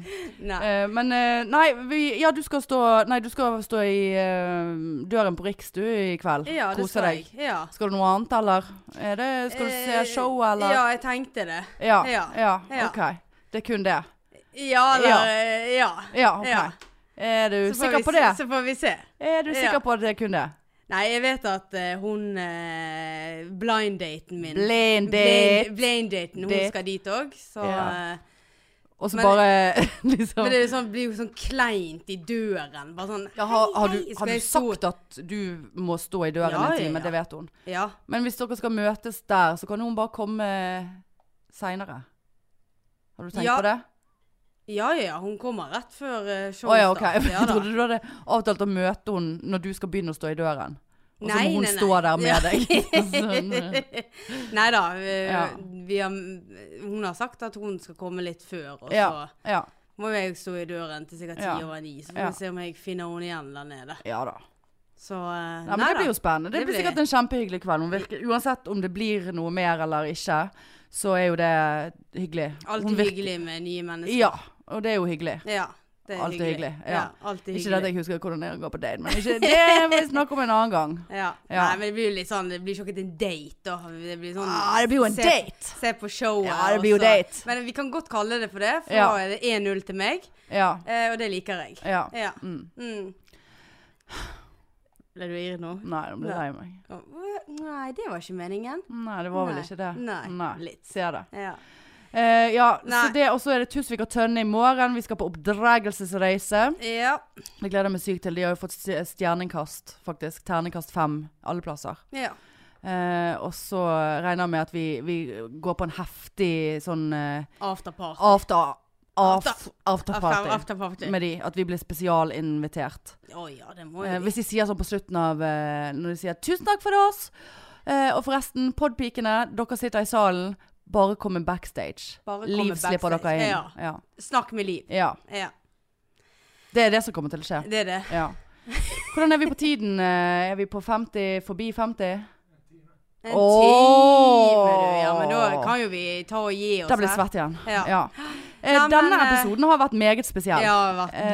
S3: Nei.
S4: Eh, men eh, nei, vi, ja, du skal stå, nei, du skal stå i eh, døren på Riks du i kveld.
S3: Ja, det
S4: Eh, Kose
S3: skal
S4: deg.
S3: jeg. Ja.
S4: Skal du noe annet, eller? Er det, skal du se
S3: Eh,
S4: show, eller?
S3: Ja, jeg tenkte det.
S4: Ja, ja,
S3: ja, ja.
S4: ok. Det er kun det.
S3: Ja,
S4: Ja.
S3: eller eh, Ja.
S4: Ja, ok.
S3: Ja.
S4: Er du
S3: Så får
S4: sikker
S3: vi
S4: på
S3: se-
S4: det?
S3: Så får vi se.
S4: Er du sikker
S3: Ja.
S4: på at det er kun det?
S3: Nei, jeg vet at eh, hun eh, blind-daten min Blind-
S4: Blind date.
S3: Blind-daten, hun
S4: Date.
S3: skal dit òg, så
S4: Ja.
S3: eh,
S4: Og så
S3: Men-
S4: bare (laughs) liksom
S3: Men det er jo sånn, blir jo sånn kleint i døren. Bare sånn
S4: ja, har, har,
S3: hei,
S4: du,
S3: hei,
S4: har
S3: skal
S4: du
S3: jeg stå-
S4: sagt at du må stå i døren
S3: Ja,
S4: en
S3: ja,
S4: time?
S3: ja.
S4: Det vet hun.
S3: Ja.
S4: Men hvis dere skal møtes der, så kan hun bare komme seinere. Har du tenkt
S3: Ja.
S4: på det?
S3: ja, ja, ja. Hun kommer rett før eh,
S4: Å ja,
S3: showstart.
S4: ok. (laughs) Jeg
S3: da.
S4: trodde du hadde avtalt å møte henne når du skal begynne å stå i døren. Og så
S3: Nei,
S4: må hun
S3: nei, nei.
S4: stå der med
S3: Ja. (laughs)
S4: deg. sånn, eh.
S3: Nei da. Vi,
S4: Ja.
S3: vi har, hun har sagt at hun skal komme litt før, og
S4: ja, ja.
S3: så må jeg stå i døren til sikkert ti
S4: Ja.
S3: over ni. Så får vi
S4: Ja.
S3: se om jeg finner henne igjen der nede.
S4: ja da.
S3: Så eh,
S4: Nei, men
S3: nei
S4: det blir
S3: da.
S4: jo spennende. Det,
S3: Det
S4: blir
S3: blir-
S4: sikkert en kjempehyggelig kveld. Hun virker, uansett om det blir noe mer eller ikke, så er jo det hyggelig. Hun
S3: Alltid
S4: virker-
S3: hyggelig med nye mennesker.
S4: Ja, og det er jo hyggelig.
S3: ja det er
S4: Alltid hyggelig. Ja.
S3: alltid
S4: Ikke
S3: hyggelig.
S4: at jeg husker hvordan jeg går på date, men ikke, det må vi snakke om en annen gang.
S3: Ja.
S4: Ja.
S3: Nei, men det blir jo litt sånn Det blir jo ikke en date, da. Det blir sånn
S4: Ah, det blir jo en
S3: se-
S4: date.
S3: Se på showet.
S4: Ja, det blir jo
S3: og så-
S4: date.
S3: Men vi kan godt kalle det for det, for
S4: Ja.
S3: da er det 1-0 til meg,
S4: Ja.
S3: eh, og det liker jeg.
S4: ja.
S3: Ja.
S4: Mm.
S3: Mm. Ble du irr nå?
S4: Nei, nå ble jeg lei meg.
S3: Å, Nei, det var ikke meningen.
S4: Nei, det var vel
S3: Nei.
S4: ikke det.
S3: Nei, litt.
S4: Ser det.
S3: Ja.
S4: Eh, ja,
S3: Nei.
S4: så det, og så er det Tusvik og Tønne i morgen. Vi skal på oppdragelsesreise.
S3: Ja.
S4: Det gleder jeg meg sykt til. De har jo fått stj- stjernekast, faktisk. Ternekast fem, alle plasser.
S3: ja.
S4: Eh, og så regner jeg med at vi, vi går på en heftig sånn eh,
S3: Afterparty.
S4: after, af,
S3: After-
S4: afterparty
S3: Afterparty.
S4: med de. At vi blir spesialinvitert.
S3: Å ja, det må
S4: Eh,
S3: jo
S4: hvis de sier sånn på slutten av eh, Når de sier 'tusen takk for oss', eh, og forresten, podpikene, dere sitter i salen, bare komme backstage.
S3: Bare komme
S4: Liv slipper
S3: backstage.
S4: dere inn.
S3: Ja.
S4: Ja.
S3: Snakke med Liv.
S4: ja.
S3: Ja,
S4: Det er det som kommer til å skje.
S3: det er det.
S4: Ja. Hvordan er vi på tiden? eh, Er vi på 50, forbi 50?
S3: En
S4: Åh!
S3: time, du. Ja, men da kan jo vi ta og gi oss
S4: Da blir det
S3: her.
S4: svett igjen.
S3: Ja.
S4: Eh,
S3: Nei, men,
S4: Denne
S3: eh,
S4: episoden har vært meget spesiell.
S3: Ja, det har vært
S4: Eh,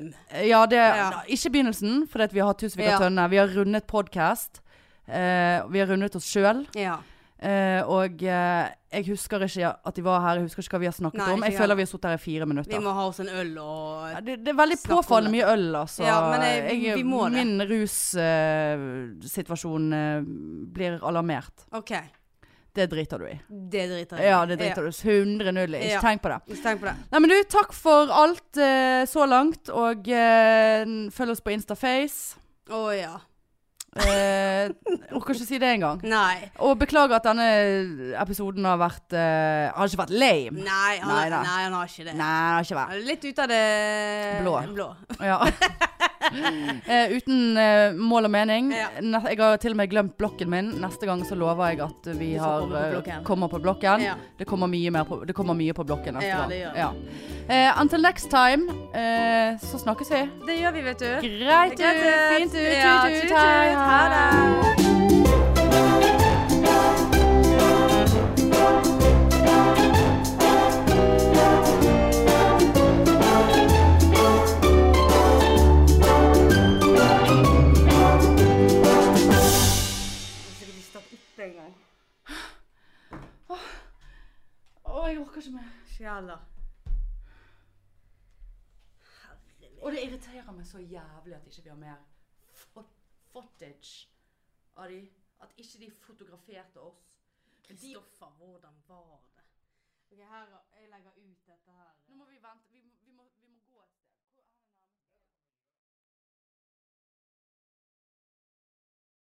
S3: lame.
S4: ja, det,
S3: Ja.
S4: Ikke begynnelsen, for vi har Tusvik
S3: Ja.
S4: og Tønne. Vi har rundet podkast. vi har rundet oss sjøl.
S3: Ja.
S4: og eh, jeg husker ikke at de var her. Jeg husker ikke hva vi har snakket
S3: Nei,
S4: om.
S3: ikke
S4: Jeg
S3: heller.
S4: føler vi har sittet her i fire
S3: Vi
S4: minutter.
S3: må ha oss en øl og
S4: Ja, det, det er veldig
S3: snakke om
S4: påfallende
S3: det.
S4: mye øl, altså.
S3: Ja, men jeg-
S4: Jeg-
S3: vi må det.
S4: min russituasjon eh, blir alarmert.
S3: OK.
S4: Det driter du i.
S3: Det driter jeg i.
S4: Ja, det driter du i. 100 null. Ikke
S3: Ja.
S4: tenk på det.
S3: Ikke tenk på det.
S4: Nei, men du, takk for alt eh, så langt, og eh, følg oss på Instaface.
S3: Å ja. (laughs)
S4: Eh, orker ikke si det engang.
S3: Nei.
S4: Og beklager at denne episoden har vært eh, Har ikke vært lame.
S3: Nei, han,
S4: Nei
S3: nei,
S4: da.
S3: han har ikke det.
S4: Nei, det har ikke vært.
S3: Han er Litt ut av det
S4: Blå. Ja. (laughs) Eh, uten eh, mål og mening.
S3: Ja.
S4: Ne jeg har til og med glemt blokken min. Neste gang så lover jeg at vi
S3: skal
S4: har,
S3: komme på
S4: eh,
S3: blokken.
S4: kommer på blokken.
S3: Ja.
S4: Det, kommer mye mer på, det kommer mye på blokken neste
S3: Ja,
S4: gang.
S3: det gjør det.
S4: Eh, until next time, eh, så snakkes vi.
S3: Det gjør vi, vet du.
S4: Greit ut,
S3: Greit ut.
S4: fint ut,
S3: Ja,
S4: tut,
S3: tut,
S4: tut, hei,
S3: tut. Ha det.
S4: Å, jeg orker ikke mer. Og det irriterer meg så jævlig at ikke vi har mer fo- footage av de. At ikke de fotograferte oss.
S3: Kristoffer, hvordan var det? Ok, her, jeg legger ut dette her.
S4: Nå må vi vente. Vi må